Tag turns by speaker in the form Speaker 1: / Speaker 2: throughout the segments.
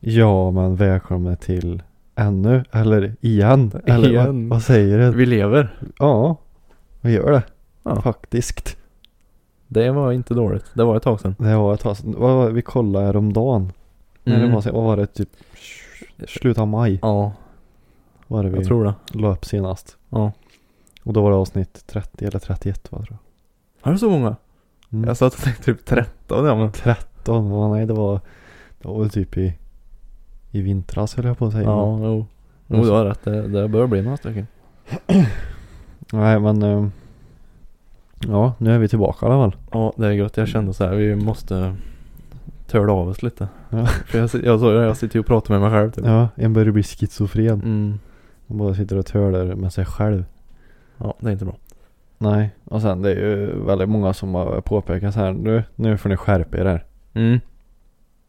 Speaker 1: Ja, men välkomna till ännu, eller igen, eller
Speaker 2: Igen.
Speaker 1: Vad, vad säger du?
Speaker 2: Vi lever.
Speaker 1: Ja, vi gör det.
Speaker 2: Ja.
Speaker 1: Faktiskt.
Speaker 2: Det var inte dåligt. Det var ett tag sedan.
Speaker 1: Det var ett tag sedan. Vad var det Vi kollade häromdagen.
Speaker 2: Mm.
Speaker 1: Eller vad säger- vad var det? Typ slutet av maj
Speaker 2: Ja,
Speaker 1: var det vi
Speaker 2: jag tror det.
Speaker 1: la upp senast.
Speaker 2: Ja.
Speaker 1: Och då var det avsnitt 30 eller 31 va tror
Speaker 2: Har du så många?
Speaker 1: jag. Mm.
Speaker 2: Jag satt och tänkte typ 13. Ja, men.
Speaker 1: 13, va? nej det var, det var väl typ i, i vintras höll jag på att säga. Mm.
Speaker 2: ja jo. Jo, du har rätt. Det, det bör bli några stycken.
Speaker 1: Nej men, ehm, ja nu är vi tillbaka i alla fall.
Speaker 2: Ja, det är gött. Jag kände så här, vi måste törda av oss lite.
Speaker 1: Ja.
Speaker 2: För jag, sit- jag, såg det, jag sitter ju och pratar med mig själv typ.
Speaker 1: Ja, en börjar bli schizofren.
Speaker 2: Mm.
Speaker 1: Man bara sitter och tölar med sig själv.
Speaker 2: Ja, det är inte bra.
Speaker 1: Nej, och sen det är ju väldigt många som har påpekat så här nu, nu får ni skärpa er här.
Speaker 2: Mm.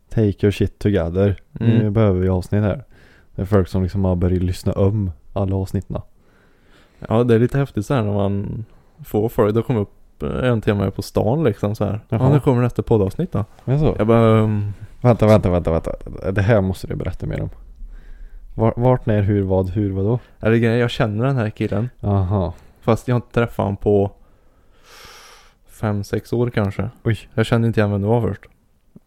Speaker 1: Take your shit together.
Speaker 2: Mm.
Speaker 1: Nu behöver vi avsnitt här. Det är folk som liksom har börjat lyssna om alla avsnitten.
Speaker 2: Ja, det är lite häftigt så här när man får folk. Det kommer upp en till mig på stan liksom så här. Ja,
Speaker 1: Jaha.
Speaker 2: nu kommer nästa poddavsnitt då.
Speaker 1: Men så,
Speaker 2: Jag bara, ehm,
Speaker 1: vänta, vänta, vänta, vänta. Det här måste du berätta mer om. Var, vart, när, hur, vad, hur, vad då?
Speaker 2: eller grejen, jag känner den här killen.
Speaker 1: Aha.
Speaker 2: Fast jag har inte träffat honom på fem sex år kanske.
Speaker 1: Oj.
Speaker 2: Jag kände inte igen vem det var först.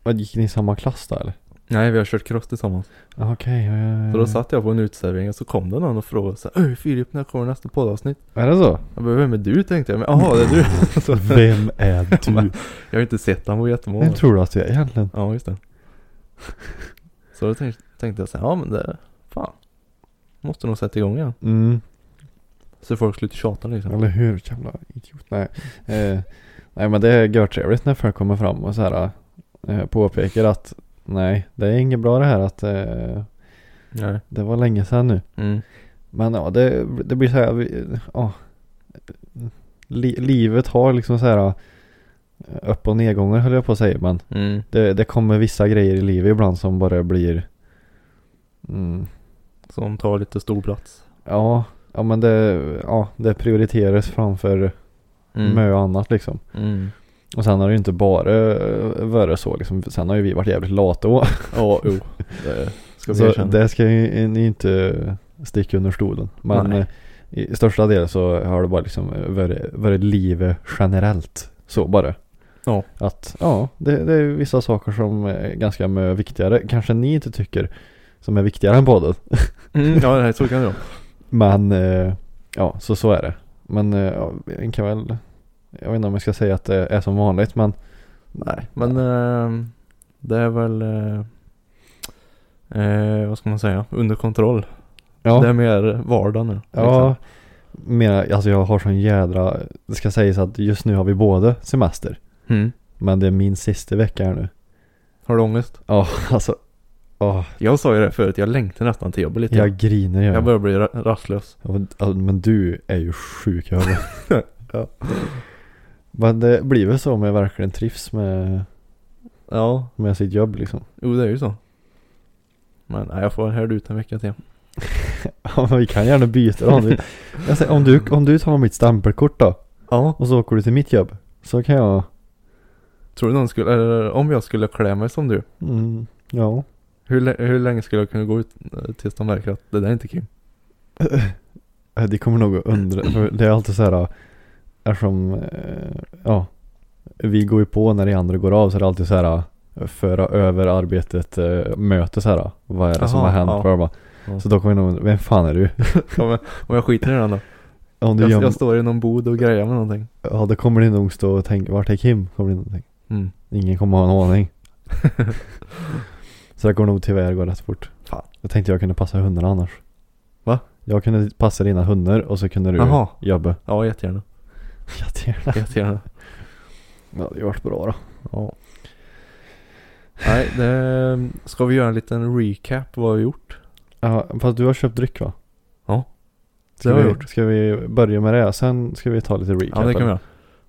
Speaker 1: Vad, gick ni i samma klass då eller?
Speaker 2: Nej, vi har kört cross tillsammans.
Speaker 1: Okej, ja, ja, ja,
Speaker 2: Så då
Speaker 1: ja.
Speaker 2: satt jag på en uteservering och så kom det någon och frågade så här, Öj Filip, när kommer nästa poddavsnitt?
Speaker 1: Är det så?
Speaker 2: Jag bara, vem är du? tänkte jag. Men jaha, det är du. så,
Speaker 1: Vem är du?
Speaker 2: jag har inte sett honom på jättemånga
Speaker 1: Vem
Speaker 2: år.
Speaker 1: tror du att du är egentligen?
Speaker 2: Ja, just det. Så då tänkte, tänkte jag så här, ja men det, fan. Måste nog sätta igång igen.
Speaker 1: Mm.
Speaker 2: Så folk slutar tjata liksom.
Speaker 1: Eller hur? Jävla idiot. Nej, eh, nej men det är görtrevligt när folk kommer fram och så här eh, påpekar att nej, det är inget bra det här att eh,
Speaker 2: Nej.
Speaker 1: det var länge sedan nu.
Speaker 2: Mm.
Speaker 1: Men ja, det, det blir så här, vi- ja. Li, livet har liksom så här eh, upp och nedgångar höll jag på att säga men
Speaker 2: Mm.
Speaker 1: det, det kommer vissa grejer i livet ibland som bara blir mm,
Speaker 2: Som tar lite stor plats.
Speaker 1: ja, ja men det, ja, det prioriteras framför
Speaker 2: Mm.
Speaker 1: mö och annat liksom.
Speaker 2: Mm.
Speaker 1: Och sen har det ju inte bara eh, varit så liksom. Sen har ju vi varit jävligt lata då.
Speaker 2: Ja, jo. Det ska vi
Speaker 1: Så
Speaker 2: erkänna.
Speaker 1: det ska ju ni inte sticka under stolen. Men
Speaker 2: Nej.
Speaker 1: eh, i största del så har det bara liksom eh, varit, varit livet generellt. Så bara.
Speaker 2: Ja.
Speaker 1: Att ja, det, det är ju vissa saker som är ganska mö viktigare. Kanske ni inte tycker som är viktigare än podden.
Speaker 2: Mm, ja, nej, så kan det vara.
Speaker 1: Men eh, ja, så så är det. Men eh, ja, en kan väl, jag vet inte om jag ska säga att det är som vanligt men
Speaker 2: Nej, men eh, det är väl, eh, eh, vad ska man säga, under kontroll.
Speaker 1: ja.
Speaker 2: Det är mer vardag nu. Liksom.
Speaker 1: Ja, mera, Liksom. alltså jag har sån jädra, det ska sägas att just nu har vi båda semester.
Speaker 2: liksom. Mm.
Speaker 1: Men det är min sista vecka här nu.
Speaker 2: Har du ångest?
Speaker 1: Ja, alltså, åh,
Speaker 2: Jag sa ju det förut, jag längtar nästan till jobbet lite.
Speaker 1: jag griner
Speaker 2: jag
Speaker 1: jag.
Speaker 2: börjar bli ra- rastlös.
Speaker 1: Ja, men- ja, men du är ju sjuk i huvudet.
Speaker 2: Ja.
Speaker 1: Men det blir väl så om jag verkligen trivs med,
Speaker 2: Ja,
Speaker 1: med sitt jobb liksom.
Speaker 2: jo det är ju så. Men nej, jag får härda ut en vecka till.
Speaker 1: Ja, men vi kan gärna byta då. om du, jag säger, om, du, om du tar mitt stämpelkort då
Speaker 2: Ja.
Speaker 1: och så åker du till mitt jobb. Så kan jag,
Speaker 2: Tror du någon skulle, eller om jag skulle klä mig som du.
Speaker 1: mm, ja.
Speaker 2: Hur, lä- hur länge skulle jag kunna gå ut eh, tills de märker att det där är inte kul?
Speaker 1: Eh, Det kommer nog att undra, för det är alltid så här eh, eftersom, eh, ja, vi går ju på när de andra går av så är det alltid så här eh, föra över arbetet, eh, möte så här. Vad är det som
Speaker 2: Aha,
Speaker 1: har hänt?
Speaker 2: ja.
Speaker 1: Bla, bla,
Speaker 2: Ja.
Speaker 1: bla. Så då kommer nog, vem fan är du?
Speaker 2: Ja, men, om jag skiter i den då?
Speaker 1: Om du
Speaker 2: Jag,
Speaker 1: göm,
Speaker 2: jag står i någon bod och grejar med någonting.
Speaker 1: ja, då kommer det nog stå och tänka, vart är Kim? Kommer det nog tänka.
Speaker 2: Mm.
Speaker 1: Ingen kommer ha en aning. så det kommer nog tyvärr gå rätt fort.
Speaker 2: Fan.
Speaker 1: Jag tänkte jag kunde passa hundarna annars.
Speaker 2: Va?
Speaker 1: Jag kunde passa dina hundar och så kunde du
Speaker 2: Jaha.
Speaker 1: jobba.
Speaker 2: Ja, jättegärna.
Speaker 1: Jättegärna.
Speaker 2: Jättegärna.
Speaker 1: Ja, det vart bra då.
Speaker 2: Ja. Nej, det, ska vi göra en liten recap vad vi har gjort?
Speaker 1: Ja, fast du har köpt dryck va?
Speaker 2: Ja.
Speaker 1: Ska
Speaker 2: Det har
Speaker 1: vi,
Speaker 2: jag gjort.
Speaker 1: Ska vi börja med det? Sen ska vi ta lite recap.
Speaker 2: Ja, det kan vi
Speaker 1: eller?
Speaker 2: göra.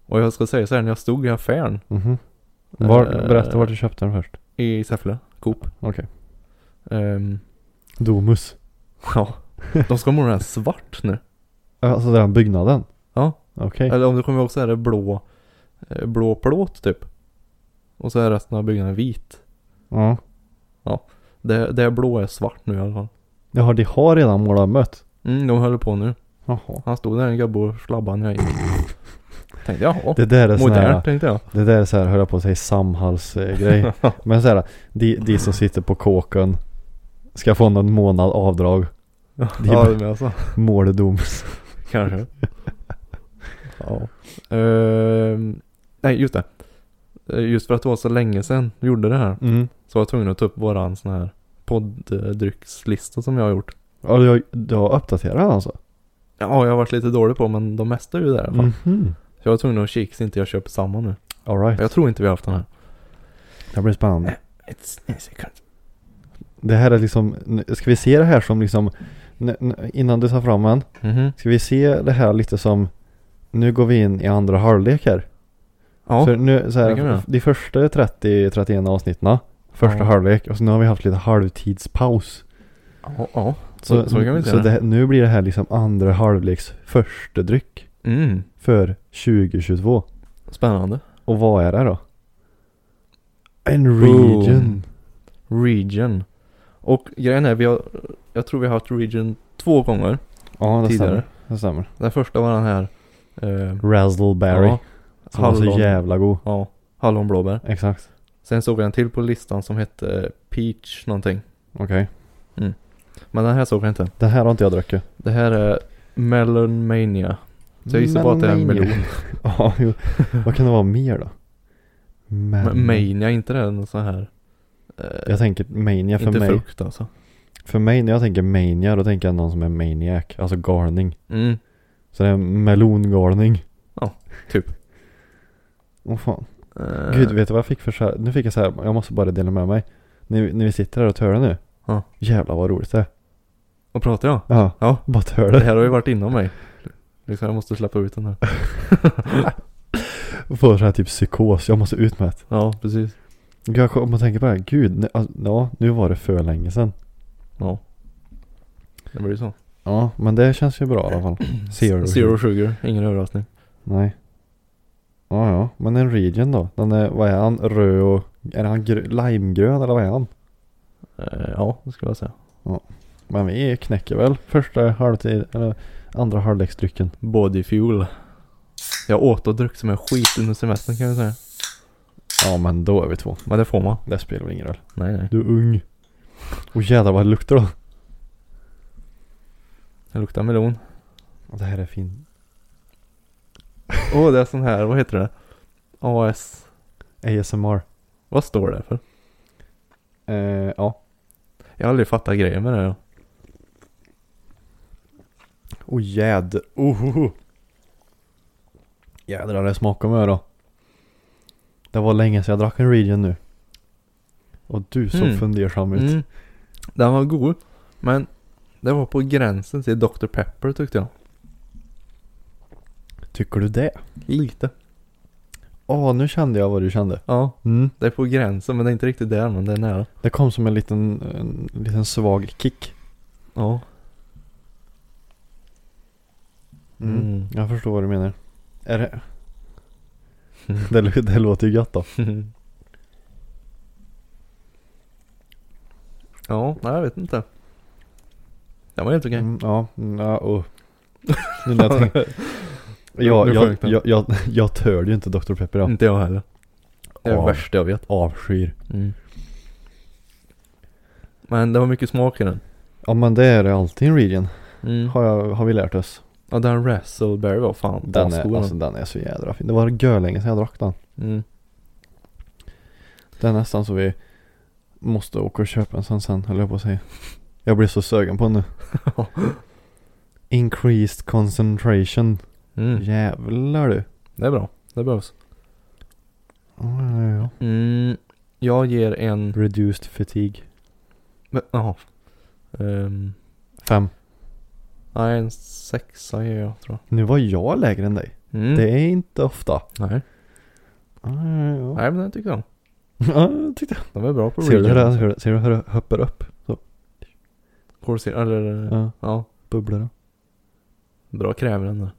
Speaker 2: Och jag ska säga så här, när jag stod i affären
Speaker 1: Mhm. Var,
Speaker 2: Eh,
Speaker 1: berätta vart du köpte den först.
Speaker 2: i Säffle, Coop.
Speaker 1: Okej.
Speaker 2: ehm,
Speaker 1: Domus.
Speaker 2: ja, de ska måla den här svart nu.
Speaker 1: Alltså den byggnaden?
Speaker 2: Ja.
Speaker 1: Okej.
Speaker 2: Eller om du kommer ihåg så är det blå, eh, blå plåt typ. Och så är resten av byggnaden vit.
Speaker 1: Ja.
Speaker 2: Det, det blå är svart nu i alla fall.
Speaker 1: Jaha, de har redan målat mött.
Speaker 2: Mm, de håller på nu.
Speaker 1: Jaha.
Speaker 2: Han stod där en gubbe och slabbade när jag gick. Tänkte jaha,
Speaker 1: Det där är sån här,
Speaker 2: modernt tänkte jag.
Speaker 1: det där är så här, höll jag på att säga, Samhalls-grej. Men så här, de, de som sitter på kåken ska få någon månad avdrag. Det är
Speaker 2: ja,
Speaker 1: bara-
Speaker 2: men alltså.
Speaker 1: Måledoms.
Speaker 2: Kanske. ja. Ehm, nej, just det. Eh, Just för att det var så länge sedan vi gjorde det här.
Speaker 1: Mm.
Speaker 2: Så var jag tvungen att ta upp våran sån här podddryckslista som jag har gjort.
Speaker 1: Ja, du har, du har uppdaterat den alltså?
Speaker 2: Ja, jag har varit lite dålig på men de mesta är ju där i alla fall.
Speaker 1: Mhm.
Speaker 2: Så jag var tvungen att kika så inte jag köper samma nu.
Speaker 1: Alright.
Speaker 2: Jag tror inte vi har haft den här.
Speaker 1: Det blir spännande.
Speaker 2: It's a secret.
Speaker 1: Det här är liksom, ska vi se det här som liksom, n- n- innan du tar fram den,
Speaker 2: Mhm.
Speaker 1: ska vi se det här lite som, nu går vi in i andra halvlek här.
Speaker 2: Ja.
Speaker 1: För nu, så
Speaker 2: det kan vi
Speaker 1: här,
Speaker 2: göra.
Speaker 1: de första 30-31 avsnitten, första
Speaker 2: Ja.
Speaker 1: halvlek, och så nu har vi haft lite halvtidspaus.
Speaker 2: ja, ja. Så- så kan vi
Speaker 1: Så
Speaker 2: säga det.
Speaker 1: det, nu blir det här liksom andra halvleks första dryck
Speaker 2: Mm.
Speaker 1: för 2022.
Speaker 2: Spännande.
Speaker 1: Och vad är det då? En
Speaker 2: Boom.
Speaker 1: region.
Speaker 2: Region. Och grejen är, vi har, jag tror vi har haft Region två gånger
Speaker 1: Ja, det
Speaker 2: tidigare.
Speaker 1: stämmer. Det stämmer.
Speaker 2: Den första var den här. Eh,
Speaker 1: Razzleberry.
Speaker 2: ja,
Speaker 1: som var så
Speaker 2: hallon.
Speaker 1: jävla god.
Speaker 2: Ja, hallonblåbär.
Speaker 1: Exakt.
Speaker 2: Sen såg vi en till på listan som hette eh, Peach någonting.
Speaker 1: Okej.
Speaker 2: Men den här såg jag inte.
Speaker 1: Den här har inte jag druckit.
Speaker 2: Det här är Melon Mania. Så jag gissar på att det är en
Speaker 1: Melon.
Speaker 2: melon.
Speaker 1: ja, jo. Vad kan det vara mer då?
Speaker 2: Men
Speaker 1: Men,
Speaker 2: Mania, inte det någon sån här. Eh,
Speaker 1: Mm. Jag tänker mania för
Speaker 2: inte
Speaker 1: mig.
Speaker 2: frukt alltså.
Speaker 1: För mig när jag tänker mania då tänker jag någon som är maniac. Alltså galning.
Speaker 2: Mm.
Speaker 1: Så det är en melongalning.
Speaker 2: Ja, typ.
Speaker 1: Åh fan.
Speaker 2: Eh,
Speaker 1: Gud, vet du vad jag fick för så här? Nu fick jag så här, jag måste bara dela med mig. När, vi- när vi sitter här och tör det nu.
Speaker 2: Ja.
Speaker 1: Jävlar vad roligt det är.
Speaker 2: Vad pratar jag?
Speaker 1: Ja.
Speaker 2: Ja.
Speaker 1: Bara tör
Speaker 2: Det
Speaker 1: det.
Speaker 2: här har ju varit inom mig. Liksom jag måste släppa ut den här.
Speaker 1: Får så här typ psykos. Jag måste ut med det.
Speaker 2: Ja, precis.
Speaker 1: Gud, Jag kommer att tänka på det här. Gud, ne- alltså, ja, nu var det för länge sedan.
Speaker 2: Ja. Det blir ju så.
Speaker 1: Ja, men det känns ju bra i alla fall. Zero.
Speaker 2: Zero sugar, ingen överraskning.
Speaker 1: Nej. Ja, ja. Men en region då? Den är, vad är han? Röd och... Är han gr- limegrön eller vad är han?
Speaker 2: Eh, ja, det skulle jag säga.
Speaker 1: Men vi knäcker väl första halvtid eller andra halvleksdrycken.
Speaker 2: Body fuel. Jag åt och drack som en skit under semestern kan jag säga.
Speaker 1: Ja, men då är vi två.
Speaker 2: Men det får man.
Speaker 1: Det spelar väl ingen roll.
Speaker 2: Nej, nej.
Speaker 1: Du är ung. Och jävlar vad det luktar då.
Speaker 2: Det luktar melon.
Speaker 1: Det här är fin.
Speaker 2: Åh, det är sån här, vad heter det? AS.
Speaker 1: ASMR.
Speaker 2: Vad står det för?
Speaker 1: Eh, ja.
Speaker 2: Jag har aldrig fattat grejen med det. här.
Speaker 1: Och jäd. Ohoho. Jädrar det smakar med då. Det var länge sedan jag drack en region nu. Och du såg
Speaker 2: Mm.
Speaker 1: fundersam ut.
Speaker 2: Mm. Den var god. Men det var på gränsen till Dr. Pepper tyckte jag.
Speaker 1: Tycker du det?
Speaker 2: Lite.
Speaker 1: Åh, nu kände jag vad du kände.
Speaker 2: Ja,
Speaker 1: Mm.
Speaker 2: det är på gränsen men det är inte riktigt där men det är nära.
Speaker 1: Det kom som en liten, en liten svag kick.
Speaker 2: Ja.
Speaker 1: Mm.
Speaker 2: Mm.
Speaker 1: Jag förstår vad du menar. Är det? det, lå- det låter ju gött då.
Speaker 2: ja, nej jag vet inte. Den var helt okej.
Speaker 1: Mm, ja, mm, ja och. Nu när jag tänker- jag,
Speaker 2: Nu
Speaker 1: jag,
Speaker 2: sjönk den.
Speaker 1: jag, jag, jag tör ju inte Dr. Pepper jag
Speaker 2: Inte jag heller. Det är det
Speaker 1: Av-
Speaker 2: värsta jag vet.
Speaker 1: Avskyr.
Speaker 2: Men det var mycket smak i den.
Speaker 1: Ja men det är det alltid i en region.
Speaker 2: Mm.
Speaker 1: Har, jag, har vi lärt oss.
Speaker 2: Ja, den Razzleberry var fan
Speaker 1: Den
Speaker 2: asgod,
Speaker 1: är, alltså, den är så jädra fin. Det var görlänge sedan jag drack den.
Speaker 2: mm.
Speaker 1: Det är nästan så vi måste åka och köpa en sån sen höll jag på att säga. Jag blir så sugen på den nu. Increased concentration.
Speaker 2: Mm.
Speaker 1: Jävlar du.
Speaker 2: Det är bra. Det behövs.
Speaker 1: Ja, ja, ja.
Speaker 2: Mm. Jag ger en...
Speaker 1: Reduced fatigue.
Speaker 2: men, Jaha. Ehm,
Speaker 1: Fem.
Speaker 2: nej, en sexa ger jag tror
Speaker 1: Nu var jag lägre än dig.
Speaker 2: jag. Mm.
Speaker 1: Det är inte ofta.
Speaker 2: Nej.
Speaker 1: Ah, ja.
Speaker 2: nej, men den tyckte jag om.
Speaker 1: Ja, jag tyckte jag.
Speaker 2: Den var bra på
Speaker 1: Ser du hur
Speaker 2: recap.
Speaker 1: det- hur det- ser du hur det hoppar upp?
Speaker 2: Corsair, eller ja.
Speaker 1: Ja, bubblorna.
Speaker 2: bra kräver den där.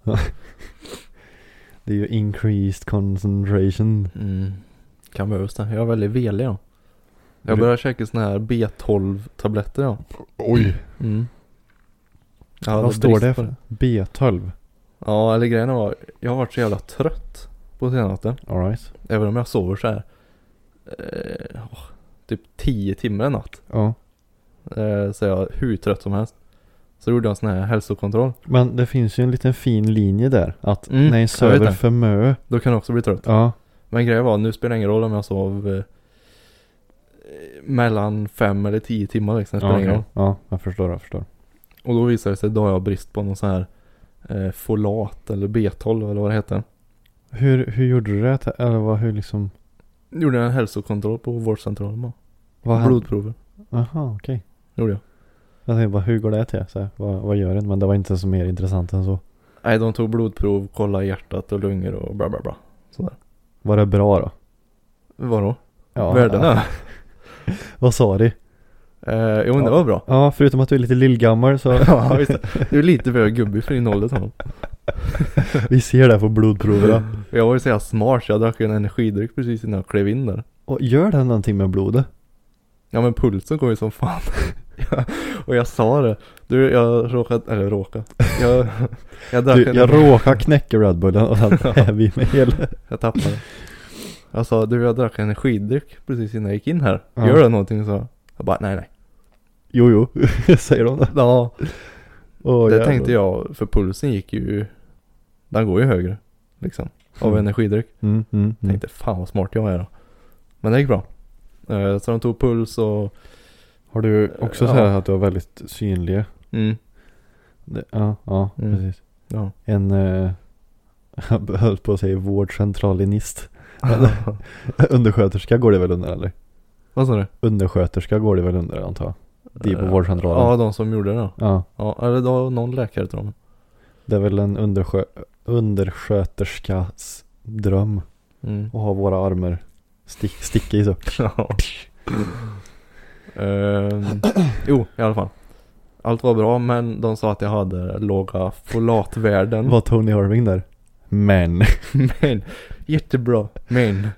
Speaker 1: Det är ju increased concentration.
Speaker 2: Mm. Kan behövas det. Jag är väldigt velig ja. Jag
Speaker 1: Du-
Speaker 2: börjar käka såna här B12-tabletter ja.
Speaker 1: Oj.
Speaker 2: Mm. Jag hade
Speaker 1: Vad står
Speaker 2: brist
Speaker 1: det
Speaker 2: på
Speaker 1: för? B12.
Speaker 2: Ja, eller grejen var, jag har varit så jävla trött på senaste.
Speaker 1: Alright.
Speaker 2: Även om jag sover så här. Eh, åh, typ 10 timmar en natt.
Speaker 1: Ja.
Speaker 2: Eh, så jag är hur trött som helst. Så gjorde jag en sån här hälsokontroll.
Speaker 1: Men det finns ju en liten fin linje där. Att
Speaker 2: Mm,
Speaker 1: när en
Speaker 2: jag vet
Speaker 1: söver
Speaker 2: det.
Speaker 1: för mö.
Speaker 2: Då kan jag också bli trött.
Speaker 1: Ja.
Speaker 2: Men grejen var, nu spelar det ingen roll om jag sov eh, mellan 5 eller 10 timmar liksom. Det spelar
Speaker 1: Ja,
Speaker 2: ingen
Speaker 1: okej.
Speaker 2: roll.
Speaker 1: ja, jag förstår, jag förstår.
Speaker 2: Och då visade det sig, då har jag brist på någon sån här eh, folat eller B12 eller vad det heter.
Speaker 1: Hur, hur gjorde du det? Eller vad, hur liksom?
Speaker 2: Gjorde jag en hälsokontroll på vårdcentralen bara.
Speaker 1: Vad hände?
Speaker 2: Blodprover
Speaker 1: Jaha, okej.
Speaker 2: gjorde jag.
Speaker 1: Jag tänkte bara, hur går det till? Så här, vad, vad gör den? Men det var inte så mer intressant än så.
Speaker 2: Nej, de tog blodprov, kollade hjärtat och lungor och bla bla bla.
Speaker 1: Var det bra då?
Speaker 2: Vadå? Värdena?
Speaker 1: Vad sa du?
Speaker 2: Eh, jo, men det var bra.
Speaker 1: Ja, förutom att du är lite lillgammal så.
Speaker 2: Ja, visst. Du är lite för gubbig för din ålder Tom.
Speaker 1: Vi ser det på blodproverna.
Speaker 2: Jag var ju så jävla smart så jag drack ju en energidryck precis innan jag klev in där.
Speaker 1: Och gör den någonting med blodet?
Speaker 2: Ja men pulsen kom ju som fan. Ja, och jag sa det. Du, jag råkade, eller råkade. Jag, jag drack
Speaker 1: Du,
Speaker 2: en,
Speaker 1: jag råkar knäcka Red Bullen och den är vi med hela.
Speaker 2: jag tappade. Jag sa, du jag drack en energidryck precis innan jag gick in här.
Speaker 1: Ja.
Speaker 2: Gör det någonting? Så jag bara, nej nej.
Speaker 1: Jo, jo, säger de det?
Speaker 2: Ja,
Speaker 1: Åh,
Speaker 2: det
Speaker 1: jävlar.
Speaker 2: tänkte jag, för pulsen gick ju, den går ju högre. Liksom, av
Speaker 1: Mm.
Speaker 2: energidryck.
Speaker 1: Mm, mm,
Speaker 2: Mm.
Speaker 1: mm.
Speaker 2: Tänkte fan vad smart jag är då. Men det gick bra. Eh, Så de tog puls och
Speaker 1: Har du också
Speaker 2: Ja.
Speaker 1: så här att du har väldigt synliga?
Speaker 2: mm,
Speaker 1: Det, ja, ja,
Speaker 2: Mm.
Speaker 1: precis.
Speaker 2: ja.
Speaker 1: En, eh, jag höll på att säga vårdcentralinist. Undersköterska går det väl under eller?
Speaker 2: vad sa du?
Speaker 1: Undersköterska går det väl under antar jag? Det är på
Speaker 2: Eh,
Speaker 1: vårdcentralen.
Speaker 2: Ja, de som gjorde det då.
Speaker 1: Ja.
Speaker 2: Ja, eller det var någon läkare tror jag.
Speaker 1: Det är väl en underskö undersköterskas dröm
Speaker 2: Mm.
Speaker 1: att ha våra armar stick sticka i så.
Speaker 2: Ja. Ehm, jo, i alla fall. Allt var bra men de sa att jag hade låga folatvärden.
Speaker 1: Var Tony Irving där? Men,
Speaker 2: Men, jättebra. Men,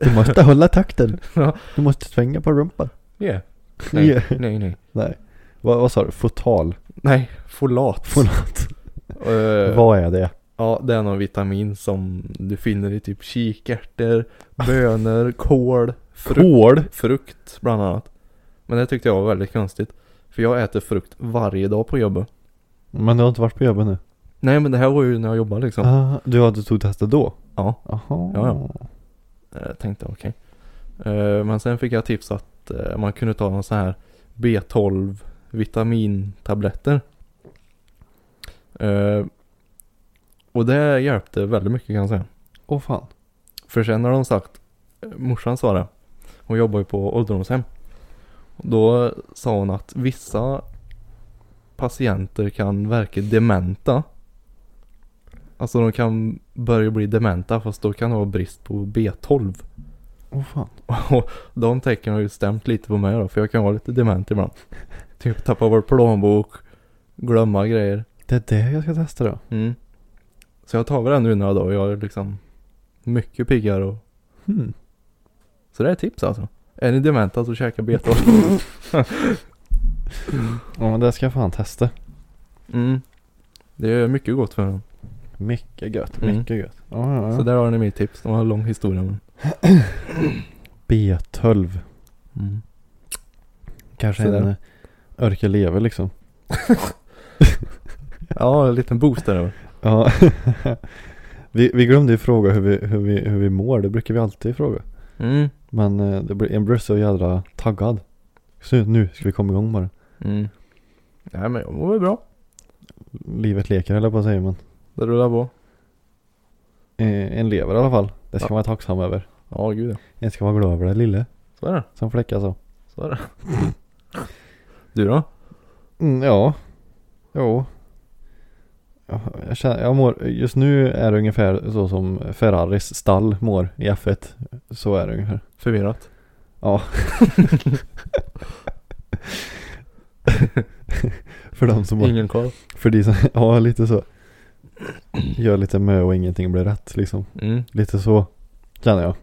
Speaker 1: du måste hålla takten.
Speaker 2: Ja.
Speaker 1: Du måste svänga på rumpan.
Speaker 2: yeah. Nej,
Speaker 1: Yeah.
Speaker 2: nej, nej.
Speaker 1: Nej. Vad, vad sa du? Fotal?
Speaker 2: Nej, folat.
Speaker 1: Folat?
Speaker 2: Eh,
Speaker 1: Vad är det?
Speaker 2: Ja, det är någon vitamin som du finner i typ kikärtor, bönor, kål, frukt,
Speaker 1: Kål?
Speaker 2: frukt bland annat. Men det tyckte jag var väldigt konstigt. För jag äter frukt varje dag på jobbet.
Speaker 1: Men du har inte varit på jobbet nu?
Speaker 2: Nej men det här var ju när jag jobbade liksom.
Speaker 1: Ah, du hade tog testet då?
Speaker 2: Ja.
Speaker 1: Jaha.
Speaker 2: Ja, Eh, tänkte okej. Eh, men sen fick jag tips att eh, man kunde ta någon sån här B12 vitamintabletter. Eh, och det hjälpte väldigt mycket kan jag säga.
Speaker 1: Åh fan.
Speaker 2: För sen har de sagt, eh, morsan sa det, hon jobbar ju på ålderdomshem. Då sa hon att vissa patienter kan verka dementa. Alltså de kan börja bli dementa fast då kan det vara brist på B12.
Speaker 1: Åh fan.
Speaker 2: Och de tecknen har ju stämt lite på mig då för jag kan vara lite dement ibland. Typ tappa bort plånbok, glömma grejer.
Speaker 1: Det är det jag ska testa då.
Speaker 2: Mm. Så jag har tagit det nu några dagar och jag är liksom mycket piggare och
Speaker 1: Hmm.
Speaker 2: Så det är ett tips alltså. Är ni dementa så käka betor.
Speaker 1: Ja men det ska jag fan testa.
Speaker 2: Mm. Det är mycket gott för dem.
Speaker 1: Mycket gött,
Speaker 2: Mm.
Speaker 1: mycket gött. Ja, ja, ja.
Speaker 2: Så där har ni mitt tips. De har en lång historia men.
Speaker 1: B12.
Speaker 2: Mm.
Speaker 1: Kanske
Speaker 2: Så
Speaker 1: en
Speaker 2: där.
Speaker 1: eh, örkeleve liksom.
Speaker 2: Ja, en liten boost där över.
Speaker 1: Ja. vi, vi glömde ju fråga hur vi, hur, vi, hur vi mår. Det brukar vi alltid fråga.
Speaker 2: Mm.
Speaker 1: Men eh, det blir, jag blir så jädra taggad. Så nu ska vi komma igång bara.
Speaker 2: Mm. Nej men jag mår väl bra.
Speaker 1: Livet leker eller på att säga men.
Speaker 2: Det rullar på.
Speaker 1: Eh, en lever i alla fall. Det ska
Speaker 2: Ja.
Speaker 1: man vara tacksam över.
Speaker 2: Ja, gud ja.
Speaker 1: Jag ska vara glad över det lille
Speaker 2: Så är det.
Speaker 1: som alltså. fläckar så.
Speaker 2: Så är det. Du då?
Speaker 1: Mm, ja. Jo. Ja, Jag, känner, jag mår, just nu är det ungefär så som Ferraris stall mår i F1. Så är det ungefär.
Speaker 2: Förvirrat?
Speaker 1: För de som,
Speaker 2: Ingen koll.
Speaker 1: för de som, ja lite så. Gör lite mö och ingenting blir rätt liksom.
Speaker 2: Mm.
Speaker 1: Lite så känner jag.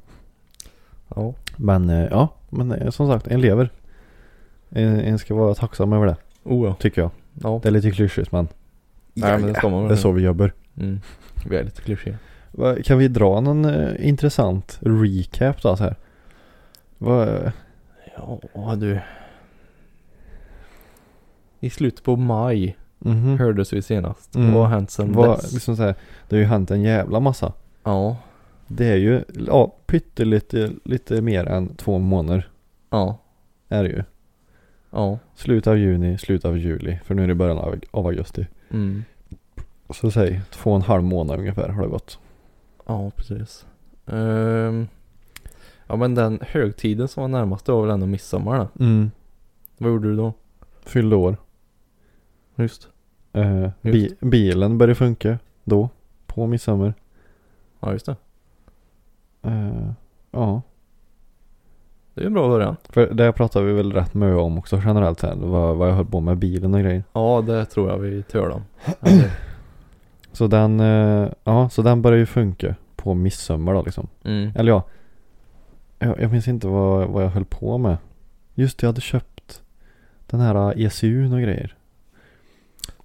Speaker 2: Ja.
Speaker 1: Men eh, ja, men eh, som sagt en lever. En, en ska vara tacksam över det,
Speaker 2: Oh ja.
Speaker 1: tycker jag.
Speaker 2: Ja.
Speaker 1: Det är lite klyschigt men
Speaker 2: Nej men det ska man
Speaker 1: det är så vi jobbar.
Speaker 2: Mm. Vi är lite klyschiga.
Speaker 1: Va, Kan vi dra någon eh, intressant recap då så här? Va, eh,
Speaker 2: Ja du. I slutet på maj
Speaker 1: mhm.
Speaker 2: hördes vi senast.
Speaker 1: Mm.
Speaker 2: Vad har hänt sen
Speaker 1: Vad,
Speaker 2: dess?
Speaker 1: liksom så här, det har ju hänt en jävla massa.
Speaker 2: Ja.
Speaker 1: Det är ju, ja, pyttelite lite mer än två månader
Speaker 2: Ja.
Speaker 1: är det ju.
Speaker 2: Ja.
Speaker 1: Slut av juni, slut av juli, för nu är det början av, av augusti.
Speaker 2: Mm.
Speaker 1: Så säg, två och en halv månad ungefär har det gått.
Speaker 2: Ja precis. Ehm. Ja men den högtiden som var närmast det var väl ändå midsommar då.
Speaker 1: Mm.
Speaker 2: Vad gjorde du då?
Speaker 1: Fyllde år.
Speaker 2: Just.
Speaker 1: Eh, bi- bilen började funka då, på midsommar.
Speaker 2: Ja just det.
Speaker 1: Eh, ja.
Speaker 2: Det är ju en bra början.
Speaker 1: För det pratar vi väl rätt mycket om också generellt här, vad, vad jag höll på med bilen och grejer.
Speaker 2: Ja det tror jag vi törde om. Eller-
Speaker 1: Så den, eh, ja, så den börjar ju funka på midsommar då liksom.
Speaker 2: Mm.
Speaker 1: Eller ja, jag, jag minns inte vad, vad jag höll på med. Just det, jag hade köpt den här ECUn och grejer.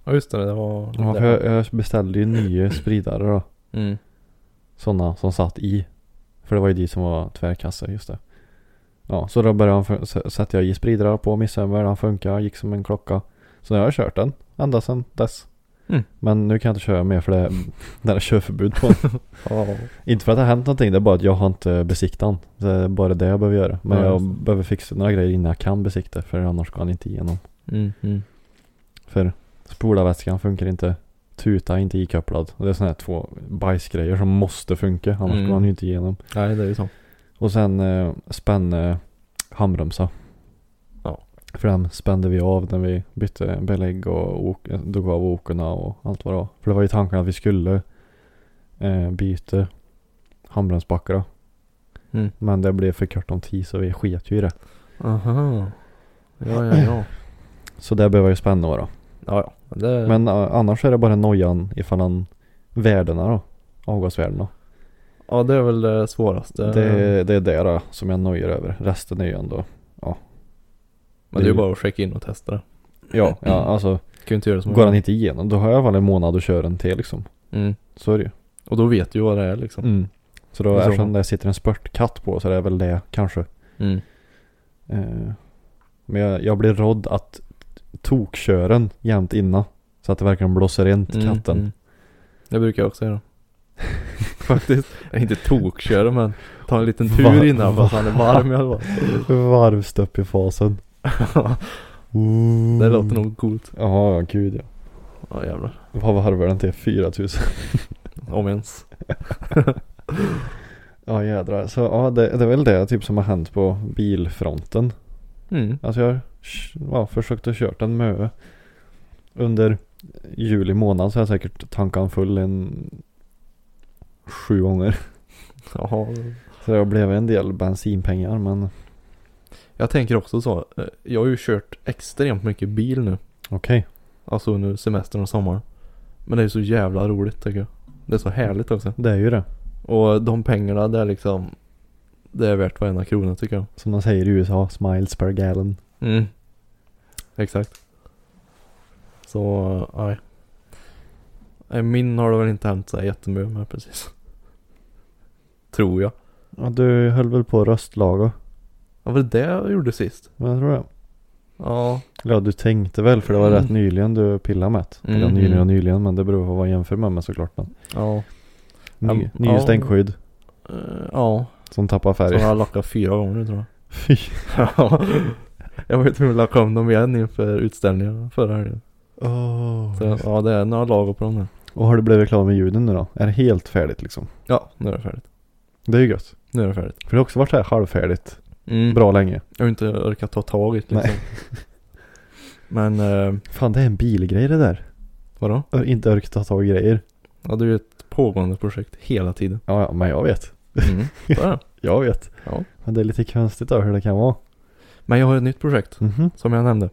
Speaker 2: Ja just det, det var...
Speaker 1: Ja, för jag, jag beställde ju nya spridare då.
Speaker 2: Mm.
Speaker 1: Sådana som satt i. För det var ju de som var tvärkassa, just det. Ja, så då började han, fun- s- satte jag i spridare på midsommar, han funkar, gick som en klocka. Så nu har jag kört den ända sedan dess.
Speaker 2: Mm.
Speaker 1: Men nu kan jag inte köra mer för det är det är körförbud på den.
Speaker 2: Ja.
Speaker 1: Inte för att det har hänt någonting, det är bara att jag har inte besiktat den. Det är bara det jag behöver göra. Men
Speaker 2: Ja,
Speaker 1: jag
Speaker 2: just
Speaker 1: behöver fixa några grejer innan jag kan besikta för annars går han inte igenom.
Speaker 2: Mm, mm.
Speaker 1: För spolarvätskan funkar inte. Tuta är inte ikopplad. Och det är sådana här två bajsgrejer som måste funka, annars
Speaker 2: Mm.
Speaker 1: går han ju inte igenom.
Speaker 2: Nej det är ju så.
Speaker 1: Och sen eh, spänn eh, handbromsa.
Speaker 2: Ja.
Speaker 1: För den spände vi av när vi bytte belägg och ok- drog av okorna och allt vad det var. För det var ju tanken att vi skulle eh, byta handbromsbackar då.
Speaker 2: Mm.
Speaker 1: Men det blev för kort om tid så vi sket ju i det.
Speaker 2: Aha. Ja ja ja.
Speaker 1: Så det behöver jag ju spänna då.
Speaker 2: Ja ja. Det...
Speaker 1: Men eh, annars är det bara nojan ifall han värdena då. Avgasvärdena.
Speaker 2: Ja det är väl eh, det svåraste.
Speaker 1: Det, det är det då som jag nojar över. Resten är ju ändå.
Speaker 2: Men det är ju bara att checka in och testa det.
Speaker 1: Ja, ja alltså.
Speaker 2: Kan ju inte göra som
Speaker 1: Går han inte igenom då har jag i alla fall en månad att köra en till liksom.
Speaker 2: Mm.
Speaker 1: Så är det ju.
Speaker 2: Och då vet du ju vad det är liksom.
Speaker 1: Mm. Så då
Speaker 2: Det är så.
Speaker 1: eftersom det sitter en spurtkatt på så är det väl det kanske.
Speaker 2: Mm.
Speaker 1: Eh, men jag, jag blir rådd att tokköra den jämt innan. Så att det verkligen blåser rent
Speaker 2: Mm,
Speaker 1: katten.
Speaker 2: mm. Det brukar jag också göra. Faktiskt. Jag är inte tokköra men ta en liten tur
Speaker 1: Va-
Speaker 2: innan
Speaker 1: va-
Speaker 2: fast han är varm i alla fall.
Speaker 1: Varvstopp i fasen.
Speaker 2: det låter nog coolt.
Speaker 1: Jaha, ja gud ja.
Speaker 2: Mm. Ja jävlar.
Speaker 1: Vad varvar den till? 4000?
Speaker 2: Om ens.
Speaker 1: Ja jädrar. Så ja, det, det är väl det typ som har hänt på bilfronten.
Speaker 2: Mm.
Speaker 1: Alltså jag har ja, försökt att kört en mö. Under juli månad så har jag säkert tankan full en sju gånger.
Speaker 2: Jaha.
Speaker 1: Så det blev en del bensinpengar men
Speaker 2: Jag tänker också så. eh, Jag har ju kört extremt mycket bil nu.
Speaker 1: okej.
Speaker 2: Alltså under semestern och sommaren. Men det är så jävla roligt tycker jag. Det är så härligt också.
Speaker 1: Det är ju det.
Speaker 2: Och de pengarna det är liksom. Det är värt varenda krona tycker jag.
Speaker 1: Som de säger i USA, smiles per gallon.
Speaker 2: Mm. Exakt. Så nej. Nej, Min har det väl inte hänt så här jättemycket med precis. Tror jag.
Speaker 1: Ja, du höll väl på att röstlaga?
Speaker 2: Ja var det det jag gjorde sist?
Speaker 1: Men jag tror det.
Speaker 2: Ja.
Speaker 1: Eller Ja, du tänkte väl för det var
Speaker 2: Mm.
Speaker 1: rätt nyligen du pillade med det. Eller
Speaker 2: Mm.
Speaker 1: nyligen och nyligen men det beror på vad jag jämför med, men såklart. Men.
Speaker 2: Ja.
Speaker 1: Ny,
Speaker 2: Ja, men-
Speaker 1: ny
Speaker 2: ja.
Speaker 1: stänkskydd
Speaker 2: Eh, Ja.
Speaker 1: som tappar
Speaker 2: Så
Speaker 1: färg.
Speaker 2: jag har lackat fyra gånger nu tror jag.
Speaker 1: Fy.
Speaker 2: Ja. Jag var ju tvungen att lacka om dem igen inför utställningen förra helgen.
Speaker 3: 哦
Speaker 2: Så
Speaker 1: Så-
Speaker 2: ja, det är några lager på dem nu.
Speaker 1: Och har du blivit klar med ljuden nu då? Är det helt färdigt liksom?
Speaker 2: Ja, nu är det färdigt.
Speaker 1: Det är ju gött.
Speaker 2: Nu är det färdigt.
Speaker 1: För det har också varit så här halvfärdigt
Speaker 2: Mm.
Speaker 1: bra länge.
Speaker 2: Jag har inte orkat ta tag i det liksom. Men eh,
Speaker 1: Fan det är en bilgrej det där.
Speaker 2: vadå?
Speaker 1: Ö- Inte orkat ta tag i grejer.
Speaker 2: Ja, det är ju ett pågående projekt hela tiden.
Speaker 1: Ja, ja, men jag vet.
Speaker 2: Mm. så är det.
Speaker 1: Jag vet.
Speaker 2: Ja.
Speaker 1: Men det är lite konstigt då hur det kan vara.
Speaker 2: Men jag har ett nytt projekt
Speaker 1: Mhm.
Speaker 2: som jag nämnde.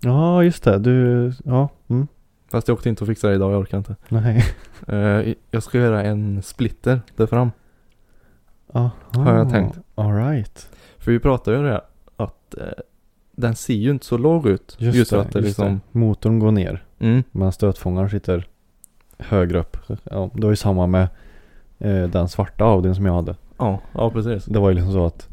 Speaker 1: Ja, just det. Du, ja. Mm.
Speaker 2: Fast jag åkte inte och fixade det idag, jag orkar inte.
Speaker 1: Nej.
Speaker 2: Eh, jag ska göra en splitter där fram.
Speaker 1: Aha.
Speaker 2: Har jag tänkt.
Speaker 1: All right.
Speaker 2: För vi pratade ju om det att eh, den ser ju inte så låg ut. Just, för att det
Speaker 1: just
Speaker 2: liksom.
Speaker 1: det. Motorn går ner.
Speaker 2: Mm,
Speaker 1: Men stötfångaren sitter högre upp. Ja, det var ju samma med eh, den svarta Audin som jag hade.
Speaker 2: ja, ja precis.
Speaker 1: Det var ju liksom så att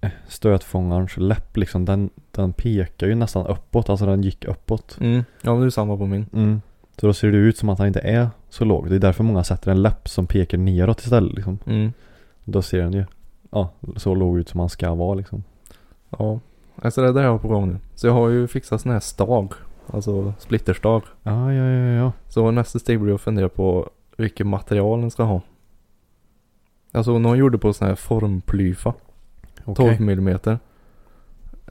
Speaker 1: eh, stötfångarens läpp liksom den, den pekar ju nästan uppåt. Alltså den gick uppåt.
Speaker 2: Mm. Ja men det är samma på min.
Speaker 1: Mm. Så då ser det ut som att han inte är så låg. Det är därför många sätter en läpp som pekar neråt istället liksom.
Speaker 2: Mm.
Speaker 1: Då ser den ju ja, så låg ut som han ska vara liksom.
Speaker 2: Ja. Alltså det är det jag har på gång nu. Så jag har ju fixat sån här stag. Alltså splitterstag.
Speaker 1: Ja, ja, ja, ja.
Speaker 2: Så nästa steg blir att fundera på vilket material den ska ha. Alltså någon gjorde på sån här formplyfa.
Speaker 1: Okej.
Speaker 2: 12 millimeter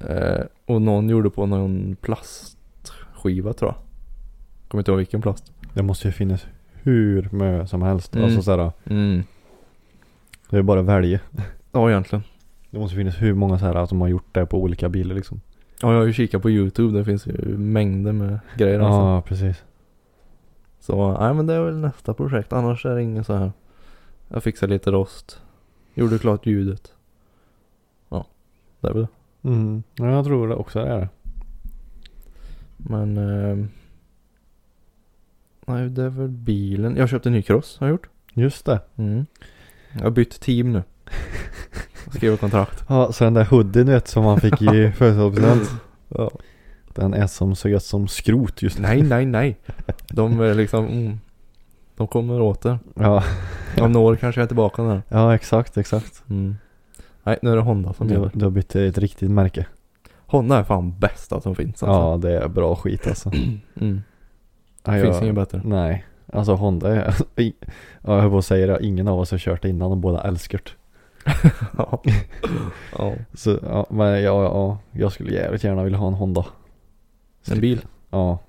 Speaker 2: Eh, och någon gjorde på någon plastskiva tror jag. Kommer inte ihåg vilken plast.
Speaker 1: Det måste ju finnas hur mycket som helst.
Speaker 2: Mm.
Speaker 1: Alltså såhär,
Speaker 2: Mm.
Speaker 1: det är bara att välja.
Speaker 2: Ja egentligen.
Speaker 1: Det måste finnas hur många såhär som har gjort det på olika bilar liksom.
Speaker 2: Ja jag har ju kikat på YouTube. Det finns ju mängder med grejer
Speaker 1: Ja,
Speaker 2: alltså.
Speaker 1: precis.
Speaker 2: Så nej men det är väl nästa projekt. Annars är det inget så här. Jag fixar lite rost. Gjorde klart ljudet. Ja. Det är väl det.
Speaker 1: Mm. Ja, jag tror det också är det.
Speaker 2: Men... Eh, nej, det är väl bilen. Jag köpte en ny cross har jag gjort.
Speaker 1: Just det.
Speaker 2: Mm. Jag har bytt team nu. Jag Skriver kontrakt.
Speaker 1: Ja, så den där hoodien du vet som man fick i födelsedagspresent. ja. Den är som så gött som skrot just nu.
Speaker 2: Nej, nej, nej. De är liksom... Mm, de kommer åter.
Speaker 1: Ja,
Speaker 2: Om några år kanske jag är tillbaka där.
Speaker 1: ja exakt, exakt.
Speaker 2: Mm. Nej, nu är det Honda som
Speaker 1: Du,
Speaker 2: gäller.
Speaker 1: du har bytt till ett riktigt märke.
Speaker 2: Honda är fan bästa som finns alltså.
Speaker 1: Ja, det är bra skit alltså.
Speaker 2: Mm.
Speaker 1: Ja,
Speaker 2: Finns
Speaker 1: jag-
Speaker 2: inget bättre.
Speaker 1: Nej, alltså Honda är, ja, jag höll på att säga det, ingen av oss har kört det innan och båda älskar det.
Speaker 2: ja. ja.
Speaker 1: Så ja, men ja, ja, ja, jag skulle jävligt gärna vilja ha en Honda.
Speaker 2: En bil.
Speaker 1: Ja,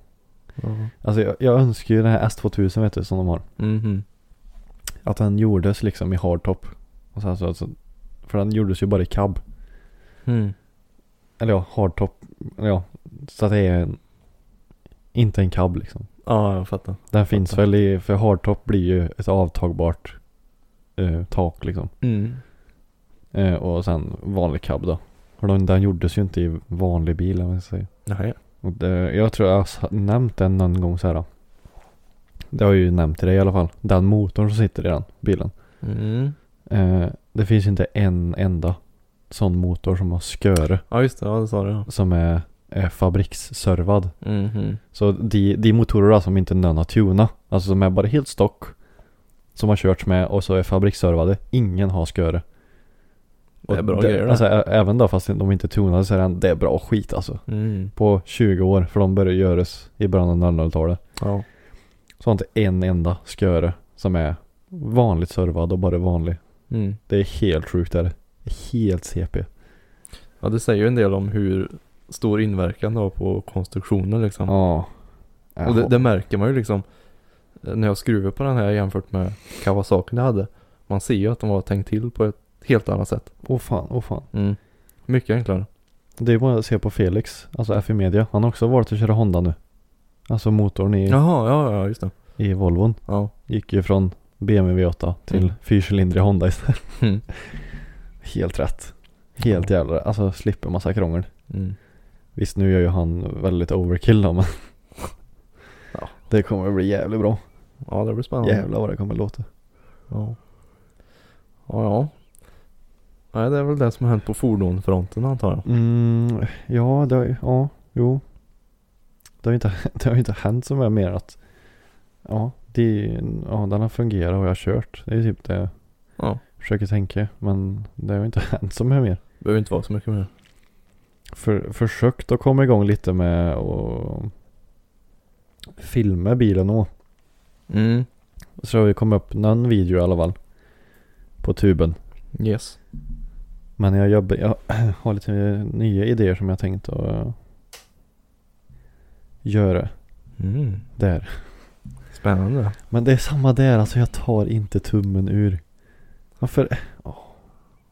Speaker 2: Ja.
Speaker 1: alltså jag, jag önskar ju den här S2000 vet du som de har.
Speaker 2: Mhm.
Speaker 1: Att den gjordes liksom i hardtop. Och sen så, alltså, för den gjordes ju bara i cab.
Speaker 2: Mm.
Speaker 1: Eller ja, hardtop. Eller Ja, så att det är en, inte en cab liksom.
Speaker 2: Ja, jag fattar.
Speaker 1: Den finns väl i, för hardtop blir ju ett avtagbart eh, tak liksom.
Speaker 2: Mm.
Speaker 1: Eh, och sen vanlig cab då. För den, den gjordes ju inte i vanlig bil om man ska säga.
Speaker 2: Nej.
Speaker 1: Och det, jag tror jag har nämnt den någon gång så här. då. Det har jag ju nämnt till dig i alla fall. Den motorn som sitter i den bilen.
Speaker 2: Mm.
Speaker 1: Eh, det finns inte en enda sån motor som har sköre.
Speaker 2: Ja just det, ja det sa du ja.
Speaker 1: Som är, är fabriksservad.
Speaker 2: Mhm.
Speaker 1: Så de, de motorer då som inte någon har tunat. Alltså som är bara helt stock. Som har körts med och så är fabriksservade. Ingen har sköre.
Speaker 2: Det är
Speaker 1: Och
Speaker 2: bra grejer det.
Speaker 1: Alltså, ä- även då fast de inte tunade så är den, det är bra skit alltså.
Speaker 2: Mm.
Speaker 1: På 20 år, för de började göras i början av 00-talet.
Speaker 2: Ja.
Speaker 1: Så har inte en enda sköre som är vanligt servad och bara vanlig.
Speaker 2: Mm.
Speaker 1: Det är helt sjukt är det. Helt CP.
Speaker 2: ja det säger ju en del om hur stor inverkan det har på konstruktionen liksom.
Speaker 1: Ja. Äh,
Speaker 2: Och det, det märker man ju liksom eh, när jag skruvar på den här jämfört med Kawasaki jag hade. Man ser ju att de har tänkt till på ett helt annat sätt.
Speaker 1: Åh fan, åh fan.
Speaker 2: Mm. Mycket enklare.
Speaker 1: Det är bara att se på Felix, alltså FI Media. Han har också valt att köra Honda nu. Alltså motorn i,
Speaker 2: Jaha, ja, ja just det.
Speaker 1: i Volvon.
Speaker 2: Ja.
Speaker 1: Gick ju från BMW V8 till
Speaker 2: Mm.
Speaker 1: fyrcylindrig Honda istället.
Speaker 2: Mm.
Speaker 1: Helt rätt. Helt
Speaker 2: Ja.
Speaker 1: jävla Alltså slipper massa krångel.
Speaker 2: Mm.
Speaker 1: Visst nu gör ju han väldigt overkill då men
Speaker 2: Ja.
Speaker 1: Det kommer bli jävligt bra.
Speaker 2: Ja det blir spännande.
Speaker 1: Jävlar vad det kommer låta.
Speaker 2: Ja. Ja ja. Nej det är väl det som har hänt på fordonfronten antar jag.
Speaker 1: Mm, ja, det har ju, ja, jo. Det har ju inte, det har ju inte hänt som är mer att Ja, det, ja, den har fungerat och jag har kört. Det är typ det jag
Speaker 2: Ja.
Speaker 1: försöker tänka. Men det har ju inte hänt som är mer.
Speaker 2: Behöver inte vara så mycket mer.
Speaker 1: För, försökt att komma igång lite med och filma bilen och
Speaker 2: Mm.
Speaker 1: Så har vi kommit upp någon video i alla fall. På tuben.
Speaker 2: Yes.
Speaker 1: Men jag, jobbar, jag har lite nya idéer som jag tänkt att eh, göra
Speaker 2: Mm.
Speaker 1: där.
Speaker 2: Spännande.
Speaker 1: Men det är samma där, alltså jag tar inte tummen ur. Varför?
Speaker 2: Ja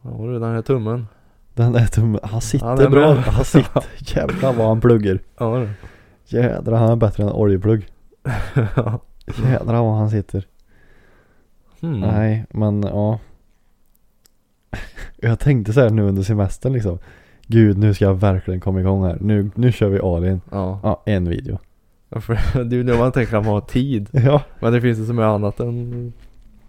Speaker 2: du, den här tummen.
Speaker 1: Den där tummen, han sitter
Speaker 2: Ja, den är
Speaker 1: bra.
Speaker 2: bra.
Speaker 1: Han sitter, jävlar vad han pluggar.
Speaker 2: Ja du.
Speaker 1: Jädrar han är bättre än oljeplugg. Jädrar vad han sitter.
Speaker 2: Mm.
Speaker 1: Nej, men ja. Jag tänkte så här nu under semestern liksom. Gud, nu ska jag verkligen komma igång här. Nu, nu kör vi Alin.
Speaker 2: Ja.
Speaker 1: Ja, en video.
Speaker 2: Ja, för det är ju det man tänker att man har tid.
Speaker 1: Ja,
Speaker 2: Men det finns ju så mycket annat än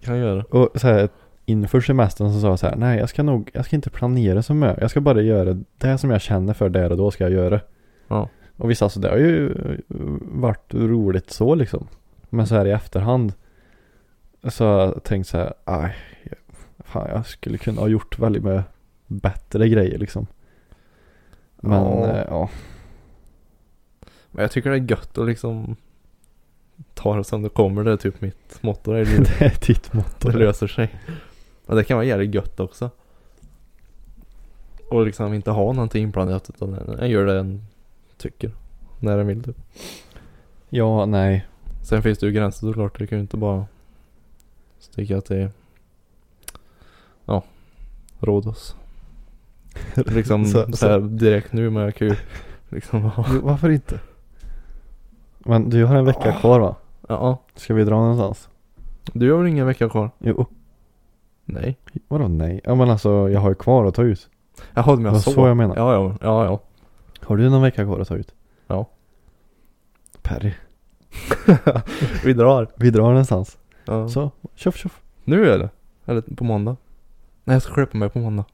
Speaker 2: kan göra.
Speaker 1: och så här inför semestern så sa jag så här. Nej, jag ska nog, jag ska inte planera så mycket. Jag ska bara göra det som jag känner för där och då ska jag göra.
Speaker 2: Ja.
Speaker 1: Och visst, alltså det har ju eh, varit roligt så liksom. Men så här i efterhand så har jag tänkt så här, aj, jag- fan jag skulle kunna ha gjort väldigt mycket bättre grejer liksom. Men
Speaker 2: Ja.
Speaker 1: eh, ja,
Speaker 2: Men jag tycker det är gött att liksom ta det som det kommer. Det är typ mitt motto där i livet.
Speaker 1: det är ditt motto.
Speaker 2: Det löser sig. Men det kan vara jävligt gött också. Och liksom inte ha någonting inplanerat utan en gör det en tycker. När den vill typ.
Speaker 1: Ja, nej.
Speaker 2: Sen finns det ju gränser såklart. Du kan ju inte bara sticka till ja, Rhodos. Liksom
Speaker 1: Så-
Speaker 2: så,
Speaker 1: så-
Speaker 2: här direkt nu men jag kan ju liksom ha.
Speaker 1: Jo, Varför inte? Men du har en vecka
Speaker 2: Ah.
Speaker 1: kvar va?
Speaker 2: Ja,
Speaker 1: Ska vi dra någonstans?
Speaker 2: du har väl ingen vecka kvar?
Speaker 1: Jo,
Speaker 2: Nej.
Speaker 1: vadå nej? Ja men alltså jag har ju kvar att ta ut.
Speaker 2: Jaha, men
Speaker 1: Vad
Speaker 2: jag sov.
Speaker 1: så jag menar.
Speaker 2: Ja, ja, ja, ja.
Speaker 1: Har du någon vecka kvar att ta ut?
Speaker 2: Ja.
Speaker 1: Perry.
Speaker 2: Vi drar.
Speaker 1: Vi drar någonstans.
Speaker 2: Ja.
Speaker 1: Så, tjoff tjoff.
Speaker 2: Nu eller? Eller på måndag? Nej jag ska klippa mig på måndag.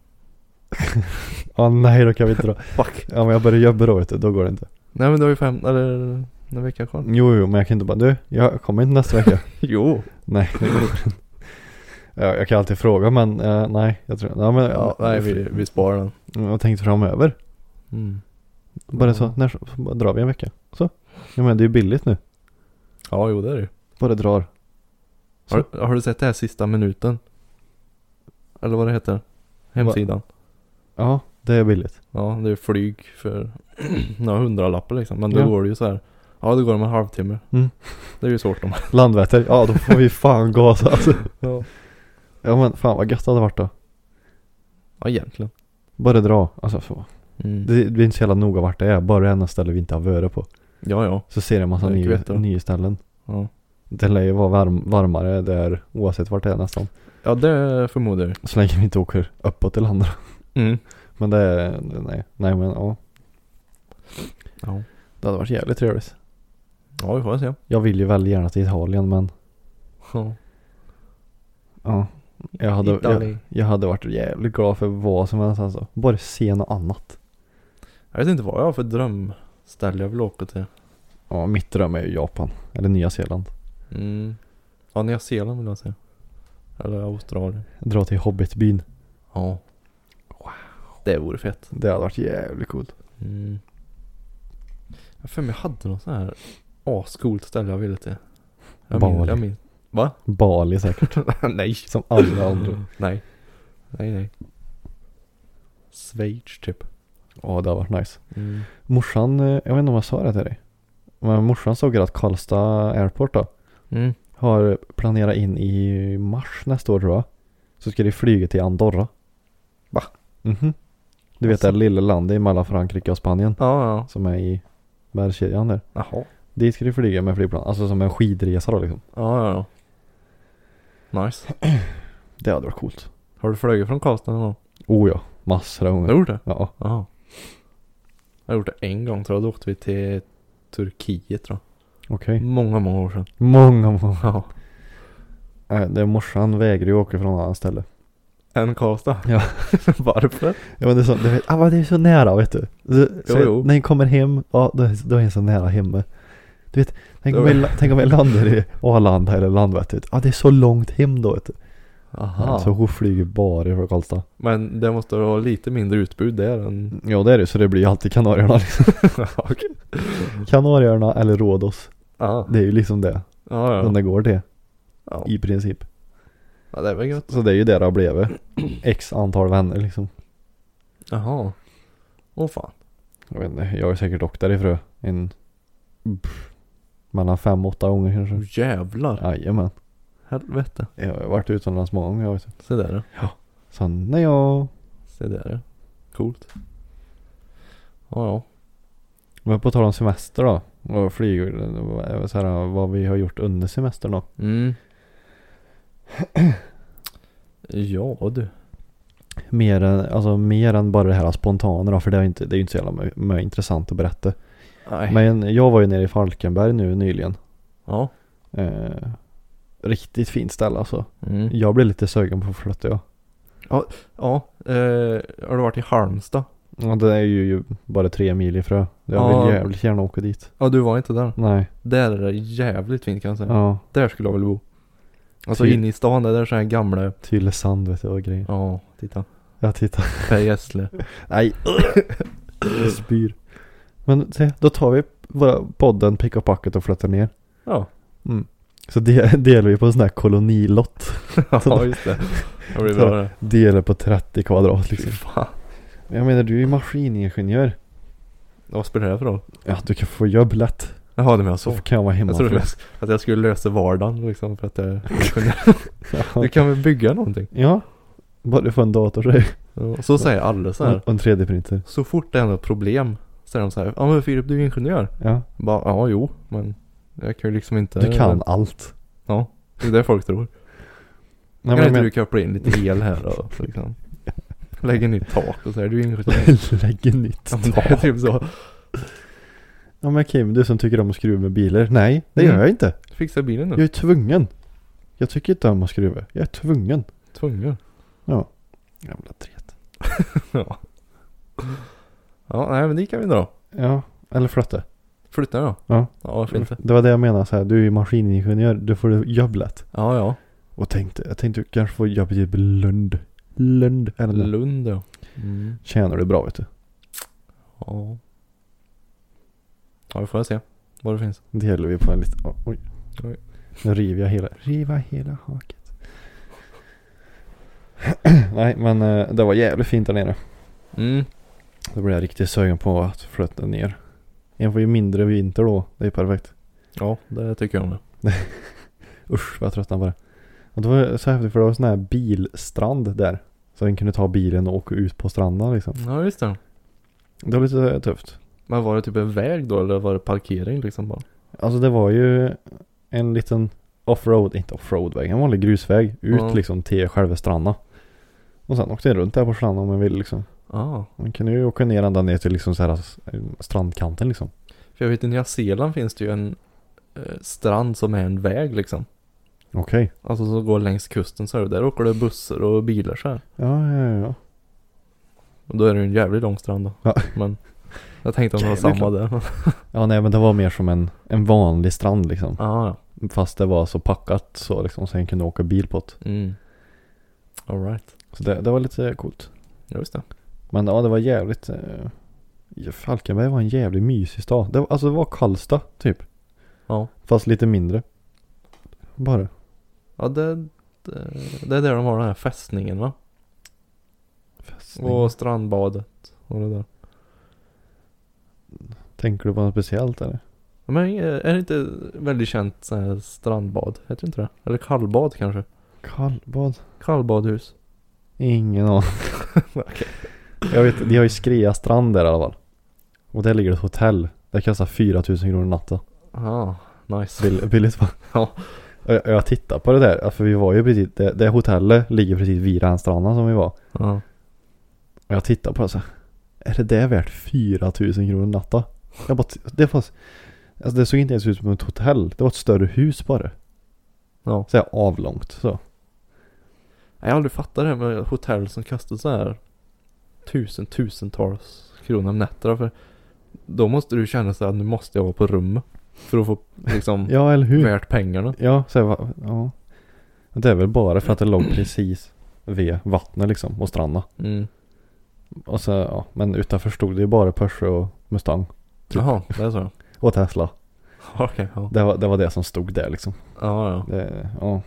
Speaker 1: Ja nej då kan vi inte dra.
Speaker 2: Fuck.
Speaker 1: Ja men jag börjar jobba då vet du, då går det inte.
Speaker 2: Nej men du har ju fem, eller en vecka kvar.
Speaker 1: Jo jo men jag kan inte bara, du jag kommer inte nästa vecka.
Speaker 2: Jo.
Speaker 1: nej det går inte. Ja, jag kan alltid fråga men eh, nej jag tror ja, men,
Speaker 2: Ja, nej vi, vi sparar den.
Speaker 1: Jag tänkte framöver.
Speaker 2: Mm.
Speaker 1: Bara så,
Speaker 2: Ja.
Speaker 1: när så, så bara drar vi en vecka. Så. Ja men det är ju billigt nu.
Speaker 2: Ja jo det är det ju.
Speaker 1: Bara drar.
Speaker 2: Har, har du sett det här sista minuten? Eller vad det heter? Hemsidan.
Speaker 1: Ja det är billigt.
Speaker 2: Ja, det är flyg för några hundralappar liksom. Men då
Speaker 1: Ja.
Speaker 2: går det ju så här. Ja, då går det med en halvtimme.
Speaker 1: Mm.
Speaker 2: Det är ju svårt om.
Speaker 1: Landvetter, ja då får vi fan gasa alltså.
Speaker 2: ja.
Speaker 1: Ja men fan vad gött det hade varit då.
Speaker 2: ja, egentligen.
Speaker 1: Bara dra. Alltså så.
Speaker 2: Mm.
Speaker 1: Det, det är inte så jävla noga vart det är. Bara det enda ställe vi inte har varit på.
Speaker 2: Ja, ja.
Speaker 1: Så ser jag en massa
Speaker 2: Det är
Speaker 1: nya,
Speaker 2: kvitt då.
Speaker 1: nya ställen.
Speaker 2: Ja,
Speaker 1: Det lär ju vara varm, varmare där oavsett vart det är nästan.
Speaker 2: ja det förmodar jag.
Speaker 1: Så länge vi inte åker uppåt till andra.
Speaker 2: Mm.
Speaker 1: Men det är, nej, nej men ja.
Speaker 2: Ja.
Speaker 1: Det hade varit jävligt trevligt.
Speaker 2: ja, vi får se.
Speaker 1: Jag vill ju väldigt gärna till Italien men
Speaker 2: Ja.
Speaker 1: ja. Jag hade, jag,
Speaker 2: Italien.
Speaker 1: jag hade varit jävligt glad för vad som helst alltså. Bara se något annat.
Speaker 2: Jag vet inte vad jag har för drömställe jag vill åka till.
Speaker 1: Ja, mitt dröm är ju Japan. Eller Nya Zeeland.
Speaker 2: Mm. Ja, Nya Zeeland vill jag säga. Eller Australien.
Speaker 1: Dra till Hobbitbyn.
Speaker 2: Ja. Wow. Det vore fett.
Speaker 1: Det hade varit jävligt coolt.
Speaker 2: Mm. Jag har för mig jag hade något sån här ascoolt ställe jag ville till. Jag minns,
Speaker 1: Bali.
Speaker 2: jag minns. Va?
Speaker 1: Bali säkert.
Speaker 2: nej.
Speaker 1: Som alla andra.
Speaker 2: Nej. Nej nej. Schweiz typ.
Speaker 1: Ja, det hade varit nice.
Speaker 2: Mm.
Speaker 1: Morsan, eh, jag vet inte om jag sa det till dig. Men morsan såg att Karlstad Airport då
Speaker 2: Mm.
Speaker 1: har planerat in i mars nästa år tror jag. Så ska de flyga till Andorra.
Speaker 2: Va?
Speaker 1: Mhm. Du vet det här lilla landet mellan Frankrike och Spanien
Speaker 2: Ja ja.
Speaker 1: som är i bergskedjan där.
Speaker 2: Jaha.
Speaker 1: Dit ska de flyga med flygplan, alltså som en skidresa då liksom.
Speaker 2: Ja ja ja. Nice.
Speaker 1: Det hade varit coolt.
Speaker 2: Har du flugit från Karlstad någon gång?
Speaker 1: Oh ja, massor av
Speaker 2: Har
Speaker 1: gånger.
Speaker 2: du gjort det?
Speaker 1: Ja,
Speaker 2: Jaha. Jag har gjort det en gång tror jag. Då åkte vi till Turkiet tror
Speaker 1: okej.
Speaker 2: jag. Många många år sedan.
Speaker 1: Många, många.
Speaker 2: Ja.
Speaker 1: Nej, det är morsan vägrar ju åka från annat ställe.
Speaker 2: Än Karlstad?
Speaker 1: Ja.
Speaker 2: Varför?
Speaker 1: Ja men det är så, du vet, ah, men det är så nära vet du. du
Speaker 2: Jo,
Speaker 1: så,
Speaker 2: jo.
Speaker 1: När jag kommer hem, ja då, är- då är jag så nära hemma. Du vet, tänk om,
Speaker 2: Då-
Speaker 1: jag, la- tänk om jag landar i Arlanda eller Landvetter. Ja ah, det är så långt hem då vet du.
Speaker 2: Aha.
Speaker 1: Ja, så hon flyger bara från Karlstad.
Speaker 2: Men det måste ha lite mindre utbud där än...
Speaker 1: Ja Mm, det är det, så det blir ju alltid Kanarieöarna liksom.
Speaker 2: Okej.
Speaker 1: Kanarieöarna eller Rhodos.
Speaker 2: Ja.
Speaker 1: Det är ju liksom det.
Speaker 2: Ja,
Speaker 1: De
Speaker 2: ja.
Speaker 1: det går till
Speaker 2: ja.
Speaker 1: i princip.
Speaker 2: Ja, det var gött.
Speaker 1: Så det är ju det det har blivit. X antal vänner liksom.
Speaker 2: Jaha. Åh fan.
Speaker 1: Jag vet inte, jag är säkert åkt därifrån en... pff, mellan fem och åtta gånger kanske.
Speaker 2: Åh, Jävlar.
Speaker 1: Jajamän.
Speaker 2: Helvete.
Speaker 1: Jag har varit utomlands många gånger jag vet.
Speaker 2: Se där du.
Speaker 1: Sen när jag
Speaker 2: Se där du. Coolt. Ja, ja.
Speaker 1: Men på tal om semester då. Och flyg, och så här, vad vi har gjort under semestern då.
Speaker 2: Mm. ja du.
Speaker 1: Mer än, alltså, mer än bara det här spontana då, för det är ju inte, det är ju inte så jävla my- my- intressant att berätta.
Speaker 2: Nej.
Speaker 1: Men jag var ju nere i Falkenberg nu nyligen.
Speaker 2: Ja.
Speaker 1: Eh, riktigt fint ställe alltså.
Speaker 2: Mm.
Speaker 1: Jag blev lite sugen på att flytta jag.
Speaker 2: Ja. Eh, har du varit i Halmstad?
Speaker 1: Och det är ju, ju bara tre mil ifrån. Jag vill
Speaker 2: Ja.
Speaker 1: jävligt gärna åka dit.
Speaker 2: Ja, du var inte där.
Speaker 1: Nej,
Speaker 2: Där är det jävligt fint kan jag säga.
Speaker 1: ja.
Speaker 2: Där skulle jag vilja bo. Alltså
Speaker 1: Ty-
Speaker 2: inne i stan, där är sådana här gamla.
Speaker 1: Tylösand vet jag och grejer.
Speaker 2: Ja, titta.
Speaker 1: Jag tittar.
Speaker 2: Per Gessle.
Speaker 1: Nej. Jag spyr. Men se, då tar vi våra podden, pick och packet och flyttar ner.
Speaker 2: Ja.
Speaker 1: Så de, delar vi på en sån här kolonilott.
Speaker 2: ja, just det. Det blir bra det.
Speaker 1: Delar på 30 kvadrat
Speaker 2: Fy
Speaker 1: liksom.
Speaker 2: fan.
Speaker 1: Men Jag menar du är ju maskiningenjör.
Speaker 2: Vad spelar det för roll?
Speaker 1: Ja, du kan få jobb lätt.
Speaker 2: Jaha, det menar
Speaker 1: Så
Speaker 2: så.
Speaker 1: kan jag vara hemma.
Speaker 2: Jag trodde
Speaker 1: för-
Speaker 2: jag sk- att jag skulle lösa vardagen liksom för att jag kunde. Du kan väl bygga någonting?
Speaker 1: Ja. Bara du får en dator så är
Speaker 2: Och så säger alla så här.
Speaker 1: Och en 3D-printer.
Speaker 2: Så fort det är något problem så är de så här. Ja men Filip du är ju ingenjör.
Speaker 1: Ja.
Speaker 2: Bara, ja jo men jag kan ju liksom inte.
Speaker 1: Du kan allt.
Speaker 2: Ja, det är det folk tror.
Speaker 1: Nej,
Speaker 2: kan
Speaker 1: men,
Speaker 2: inte
Speaker 1: men,
Speaker 2: du koppla in lite el här och liksom. Lägga nytt tak och så här. Du är ju ingenjör.
Speaker 1: lägger nytt
Speaker 2: Ja, men det är
Speaker 1: tak.
Speaker 2: typ så.
Speaker 1: Ja men Kim, du som tycker om att skruva med bilar. Nej, det gör
Speaker 2: Mm.
Speaker 1: jag inte.
Speaker 2: Fixa bilen
Speaker 1: Jag
Speaker 2: nu.
Speaker 1: är tvungen. Jag tycker inte om att skruva. Jag är tvungen.
Speaker 2: Tvungen.
Speaker 1: Jävla tret.
Speaker 2: Ja. Ja, nej men det kan vi dra.
Speaker 1: Ja, eller flytta.
Speaker 2: Flytta då.
Speaker 1: Ja.
Speaker 2: Ja, varför inte?
Speaker 1: Det var det jag menade så här. Du är ju maskiningenjör. Du får det jobb lätt.
Speaker 2: Ja, ja.
Speaker 1: Och tänkte, jag tänkte du kanske får jobb i typ Lund. Lund. Eller nåt.
Speaker 2: Lund ja. Mm.
Speaker 1: Tjänar du bra vet du.
Speaker 2: Ja. Ja, vi får se vad det finns.
Speaker 1: Det gäller vi på en liten... Oh, oj.
Speaker 2: Oj.
Speaker 1: Nu river jag hela... Riva hela haket. Nej men eh, det var jävligt fint där nere.
Speaker 2: Mm.
Speaker 1: Då blev jag riktigt sugen på att flytta ner. En får ju mindre vinter då. Det är ju perfekt.
Speaker 2: Ja, det tycker jag om det.
Speaker 1: Usch vad jag tröttnade på det. Och det var så häftigt för det var sån här bilstrand där. Så man kunde ta bilen och åka ut på stranden liksom.
Speaker 2: Ja, just det.
Speaker 1: Det var lite eh, tufft.
Speaker 2: Men var det typ en väg då eller var det parkering liksom bara?
Speaker 1: Alltså det var ju en liten offroad, inte offroadväg, en vanlig grusväg ut
Speaker 2: Ja.
Speaker 1: liksom till själva stranden. Och sen åkte jag runt där på stranden om man vill liksom.
Speaker 2: Ja.
Speaker 1: Man kan ju åka ner ända ner till liksom så här s- strandkanten liksom.
Speaker 2: För jag vet i Nya Zeeland finns det ju en eh, strand som är en väg liksom.
Speaker 1: Okej.
Speaker 2: Alltså som går längs kusten så här. Där åker det bussar och bilar så här.
Speaker 1: Ja, ja, ja.
Speaker 2: Och då är det ju en jävligt lång strand då.
Speaker 1: Ja.
Speaker 2: Men jag tänkte om det var
Speaker 1: Jävligt
Speaker 2: samma där.
Speaker 1: Ja, nej men det var mer som en, en vanlig strand liksom.
Speaker 2: Ah, Ja, ja.
Speaker 1: Fast det var så packat så liksom så jag kunde åka bil på det.
Speaker 2: Mm. Alright.
Speaker 1: Så det, det var lite coolt.
Speaker 2: Ja, just det.
Speaker 1: Men ja, det var jävligt... Eh, Falkenberg var en jävligt mysig stad. Det var, alltså det var Karlstad typ.
Speaker 2: Ja.
Speaker 1: Fast lite mindre. Bara.
Speaker 2: Ja, det, det, det är där de har den här fästningen va?
Speaker 1: Fästning.
Speaker 2: Och strandbadet och det där.
Speaker 1: Tänker du på något speciellt eller?
Speaker 2: Men eh, är det inte väldigt känt så här strandbad? Heter det inte det? Eller kallbad kanske?
Speaker 1: Kallbad?
Speaker 2: Kallbadhus.
Speaker 1: Ingen aning.
Speaker 2: Okej.
Speaker 1: Jag vet, de har ju Skrea strand där i alla fall. Och där ligger ett hotell. Det kostar 4000 kronor natten.
Speaker 2: Ja, Ah, nice.
Speaker 1: Bill, billigt va?
Speaker 2: Ja.
Speaker 1: Och jag, jag tittade på det där, för vi var ju precis, det, det hotellet ligger precis vid den stranden som vi var.
Speaker 2: Ja.
Speaker 1: Och jag tittade på det så här, Är det där värt 4000 kronor natta? Jag bara, t- det fanns, alltså det såg inte ens ut som ett hotell. Det var ett större hus bara.
Speaker 2: Ja.
Speaker 1: Så här avlångt så.
Speaker 2: Jag har aldrig fattat det här med hotell som kastar så här tusen, tusentals kronor om nätterna. För då måste du känna så här, nu måste jag vara på rummet. För att få liksom
Speaker 1: Ja eller hur?
Speaker 2: värt pengarna.
Speaker 1: Ja, så här, va- ja. Det är väl bara för att det låg precis vid vattnet liksom och stranden.
Speaker 2: Mm.
Speaker 1: Och så, ja, men utanför stod det ju bara Porsche och Mustang.
Speaker 2: Jaha, typ. det är så.
Speaker 1: Och Tesla.
Speaker 2: Okej, ja.
Speaker 1: Det var det, var det som stod där liksom.
Speaker 2: Ja, ja.
Speaker 1: Det, ja.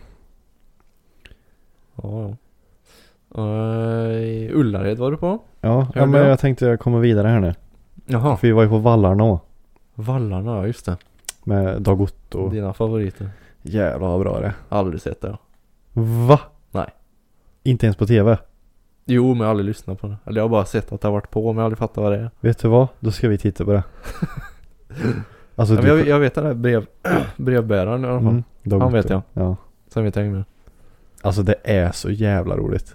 Speaker 2: Ja, ja. Eh, Ullared var du på?
Speaker 1: Ja, ja
Speaker 2: Hörde
Speaker 1: men
Speaker 2: jag.
Speaker 1: jag tänkte jag kommer vidare här nu.
Speaker 2: Jaha,
Speaker 1: För vi var ju på Vallarna
Speaker 2: Vallarna, ja just det.
Speaker 1: med Dag Otto.
Speaker 2: Dina favoriter.
Speaker 1: Jävlar vad bra det är.
Speaker 2: Aldrig sett det. ja.
Speaker 1: Va?
Speaker 2: Nej.
Speaker 1: Inte ens på tv?
Speaker 2: Jo, men jag har aldrig lyssnat på det. Eller jag har bara sett att det har varit på, men jag har aldrig fattat vad det är.
Speaker 1: Vet du vad? Då ska vi titta på det. Alltså
Speaker 2: Ja,
Speaker 1: typ...
Speaker 2: men jag, jag vet den där brev, brevbäraren i alla fall.
Speaker 1: mm, Dag
Speaker 2: Han vet
Speaker 1: Otto.
Speaker 2: jag.
Speaker 1: Ja.
Speaker 2: Sen vet jag inget mer.
Speaker 1: Alltså det är så jävla roligt.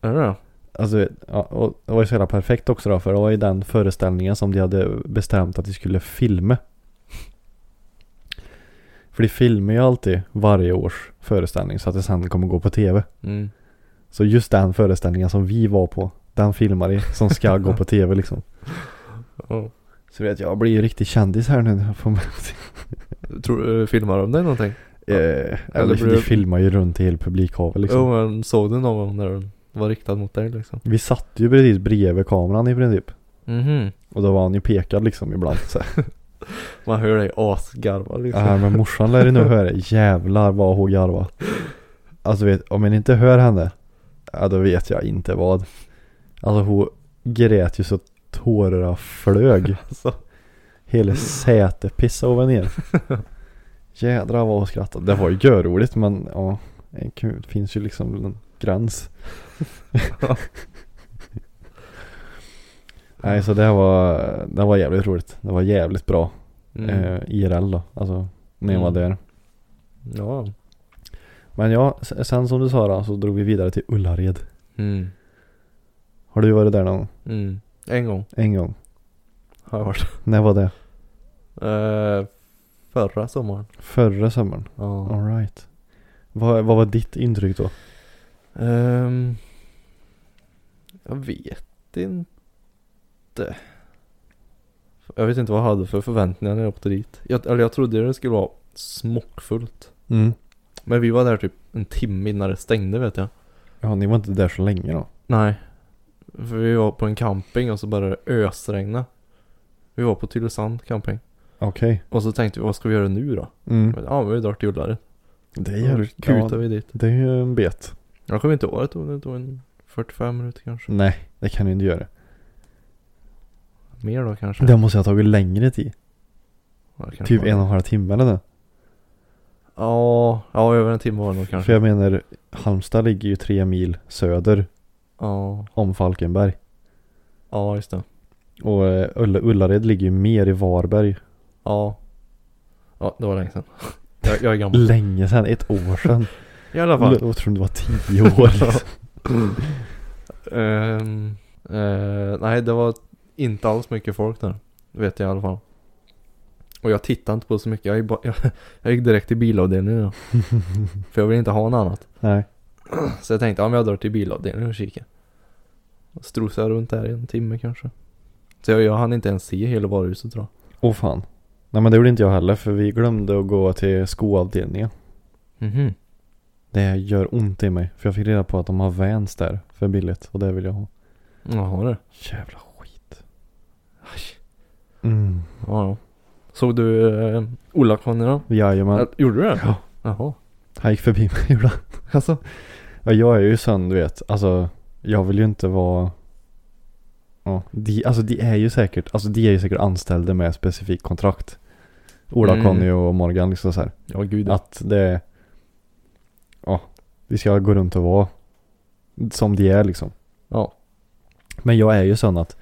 Speaker 2: Är det det?
Speaker 1: Alltså, ja, och det var ju så jävla perfekt också då för det var ju den föreställningen som de hade bestämt att de skulle filma. För de filmar ju alltid varje års föreställning så att det sen kommer gå på tv.
Speaker 2: Mm.
Speaker 1: Så just den föreställningen som vi var på, den filmar de som ska gå på tv liksom.
Speaker 2: Ja.
Speaker 1: Så vet jag, jag blir ju riktig kändis här nu. när jag får med-
Speaker 2: Tror, eh, filmar de dig någonting?
Speaker 1: Eh, eller
Speaker 2: blir
Speaker 1: de
Speaker 2: det-
Speaker 1: filmar ju runt i hela publikhavet liksom.
Speaker 2: Jo, men såg du någon gång när den var riktad mot dig liksom?
Speaker 1: Vi satt ju precis bredvid kameran i princip.
Speaker 2: Mhm.
Speaker 1: Och då var han ju pekad liksom ibland. Så. här.
Speaker 2: Man hör dig asgarva liksom.
Speaker 1: Ja men morsan lär ju nog höra Jävlar vad hon garva. Alltså vet, om man inte hör henne. Ja då vet jag inte vad. Alltså hon grät ju så tårarna flög.
Speaker 2: Alltså.
Speaker 1: Hela sätet pissade hon ner. Jädrar vad hon skrattade. Det var ju görroligt men ja. en kul- Det finns ju liksom en gräns. Nej så det var, det var jävligt roligt. Det var jävligt bra.
Speaker 2: Mm.
Speaker 1: Eh, IRL då. Alltså när jag
Speaker 2: Mm.
Speaker 1: var där.
Speaker 2: Ja.
Speaker 1: Men ja, s- sen som du sa då, så drog vi vidare till Ullared.
Speaker 2: Mm.
Speaker 1: Har du varit där någon gång?
Speaker 2: Mm. En gång
Speaker 1: En gång?
Speaker 2: har jag varit.
Speaker 1: När var det?
Speaker 2: Eh, förra sommaren.
Speaker 1: Förra sommaren?
Speaker 2: Ja.
Speaker 1: Alright. Vad, vad var ditt intryck då?
Speaker 2: Ehm, jag vet inte. Jag vet inte vad jag hade för förväntningar när jag åkte dit. Jag, eller jag trodde det skulle vara smockfullt.
Speaker 1: Mm.
Speaker 2: Men vi var där typ en timme innan det stängde vet jag.
Speaker 1: Ja, ni var inte där så länge då?
Speaker 2: Nej. För vi var på en camping och så började det ösregna. Vi var på Tylösand camping.
Speaker 1: Okej.
Speaker 2: Och så tänkte vi, vad ska vi göra nu då?
Speaker 1: Mm.
Speaker 2: Ja, men vi drar till Ullared.
Speaker 1: Det är
Speaker 2: Då
Speaker 1: jävligt
Speaker 2: kutade
Speaker 1: kul.
Speaker 2: vi dit.
Speaker 1: Det är ju en bet.
Speaker 2: Jag kommer inte ihåg, det tog, det tog en 45 minuter kanske.
Speaker 1: Nej, det kan du inte göra.
Speaker 2: Mer då kanske.
Speaker 1: Det måste jag ha tagit längre tid.
Speaker 2: Ja, kanske
Speaker 1: Typ
Speaker 2: var
Speaker 1: en och en halv timme eller det.
Speaker 2: Ja, ja över en timme var det nog kanske.
Speaker 1: För jag menar, Halmstad ligger ju tre mil söder
Speaker 2: Ja,
Speaker 1: om Falkenberg.
Speaker 2: ja just det.
Speaker 1: Och eh, Ulla- Ullared ligger ju mer i Varberg.
Speaker 2: Ja. Ja, det var länge sedan. Jag, jag är gammal.
Speaker 1: Länge sedan, ett år sedan.
Speaker 2: I alla fall.
Speaker 1: L- Jag tror det var tio år liksom.
Speaker 2: Ehm, eh, nej, det var inte alls mycket folk där. Vet jag i alla fall. Och jag tittade inte på så mycket. Jag gick, bara, jag, jag gick direkt till bilavdelningen. då. För jag ville inte ha något annat.
Speaker 1: Nej.
Speaker 2: Så jag tänkte, ja men jag drar till bilavdelningen och kikar. Och strosar runt där i en timme kanske. Så jag, jag hann inte ens se hela varuhuset tror jag.
Speaker 1: Åh fan. Nej men det gjorde inte jag heller för vi glömde att gå till skoavdelningen.
Speaker 2: Mhm.
Speaker 1: Det gör ont i mig. För jag fick reda på att de har Vans där för billigt och det vill jag ha.
Speaker 2: Jaha du.
Speaker 1: Jävla skit.
Speaker 2: Aj.
Speaker 1: Mm.
Speaker 2: Ja, ja. Såg du eh, Ola-Conny då?
Speaker 1: Jajamän.
Speaker 2: Ja, Gjorde du det?
Speaker 1: Ja.
Speaker 2: Jaha.
Speaker 1: Han gick förbi mig ibland.
Speaker 2: Alltså?
Speaker 1: Ja, jag är ju sån du vet. Alltså jag vill ju inte vara. Ja. De, alltså de är ju säkert. Alltså de är ju säkert anställda med specifikt kontrakt. Ola,
Speaker 2: Mm.
Speaker 1: Conny och Morgan liksom så här.
Speaker 2: Ja, gud ja.
Speaker 1: Att det Ja, vi ska gå runt och vara som de är liksom.
Speaker 2: Ja.
Speaker 1: Men jag är ju sån att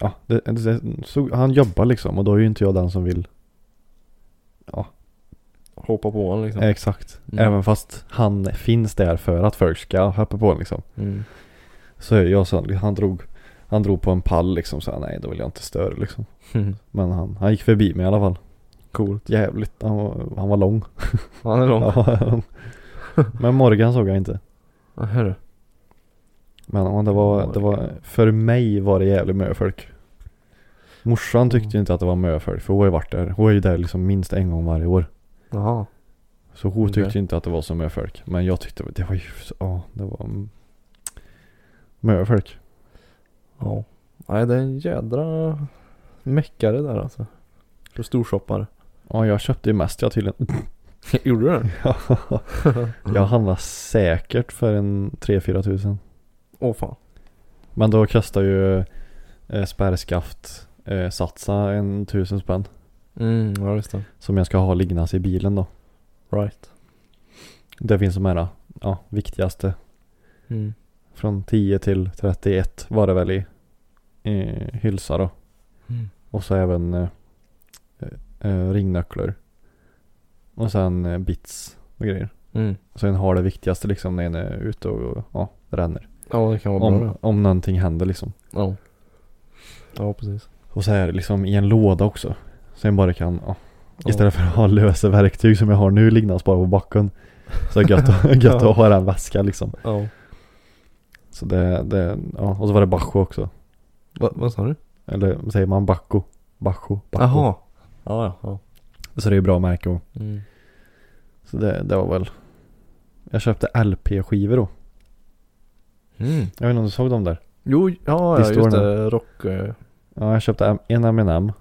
Speaker 1: ja, det, det, så, han jobbar liksom och då är ju inte jag den som vill
Speaker 2: Hoppa på honom liksom.
Speaker 1: Exakt.
Speaker 2: Mm.
Speaker 1: Även fast han finns där för att folk ska hoppa på honom liksom.
Speaker 2: Mm.
Speaker 1: Så är jag sån, han drog Han drog på en pall liksom så här, nej då vill jag inte störa liksom. Men han, han gick förbi mig i alla fall.
Speaker 2: Coolt.
Speaker 1: Jävligt, han var, han var lång.
Speaker 2: Han är lång. Ja.
Speaker 1: Ja. Men Morgan såg jag inte.
Speaker 2: Herre.
Speaker 1: Men ja, det var, det var, för mig var det jävligt möfolk. Morsan tyckte ju inte att det var möfolk för hon har ju varit där. Hon är ju där liksom minst en gång varje år.
Speaker 2: Jaha.
Speaker 1: Så hon
Speaker 2: Okej.
Speaker 1: tyckte inte att Mm, det var så möfolk. Men jag tyckte det var ju, så- ja det var mm, möfolk.
Speaker 2: Ja. Nej, det är en jädra meckare där alltså. För storshoppare.
Speaker 1: Ja jag köpte ju mest jag tydligen.
Speaker 2: Gjorde du det?
Speaker 1: jag handlade säkert för en 3-4 tusen.
Speaker 2: Åh fan.
Speaker 1: Men då kostar ju eh, spärrskaft eh, satsa en tusen spänn.
Speaker 2: Mm, ja just det.
Speaker 1: Som jag ska ha liggandes i bilen då.
Speaker 2: Right.
Speaker 1: Det finns de här ja, viktigaste.
Speaker 2: Mm.
Speaker 1: Från 10 till 31 var det väl i, i hylsa då.
Speaker 2: Mm.
Speaker 1: Och så även eh, eh, ringnöcklar. Och sen eh, bits och grejer.
Speaker 2: Mm.
Speaker 1: Sen har det viktigaste liksom när en är ute och, och ja, ränner.
Speaker 2: Ja det kan vara bra
Speaker 1: Om,
Speaker 2: det.
Speaker 1: om någonting händer liksom.
Speaker 2: Ja. Ja precis.
Speaker 1: Och så är det liksom i en låda också. Så jag bara kan, ja,
Speaker 2: Ja.
Speaker 1: istället för att ha lösa verktyg som jag har nu liggandes bara på backen. Så är det gött, att- gött att ha den väskan liksom.
Speaker 2: Ja.
Speaker 1: Så det, det, ja. Och så var det bacho också.
Speaker 2: Va, vad sa du?
Speaker 1: Eller vad säger man bacho? Bacho, bacho.
Speaker 2: Jaha. Ja ja. ja.
Speaker 1: Så det är ju bra märke och,
Speaker 2: Mm.
Speaker 1: Så det, det var väl. Jag köpte LP-skivor då.
Speaker 2: Mm.
Speaker 1: Jag vet inte om du såg dem där?
Speaker 2: Jo, ja,
Speaker 1: Det
Speaker 2: ja
Speaker 1: står
Speaker 2: just det. Rock. eh,
Speaker 1: Ja, jag köpte en M&M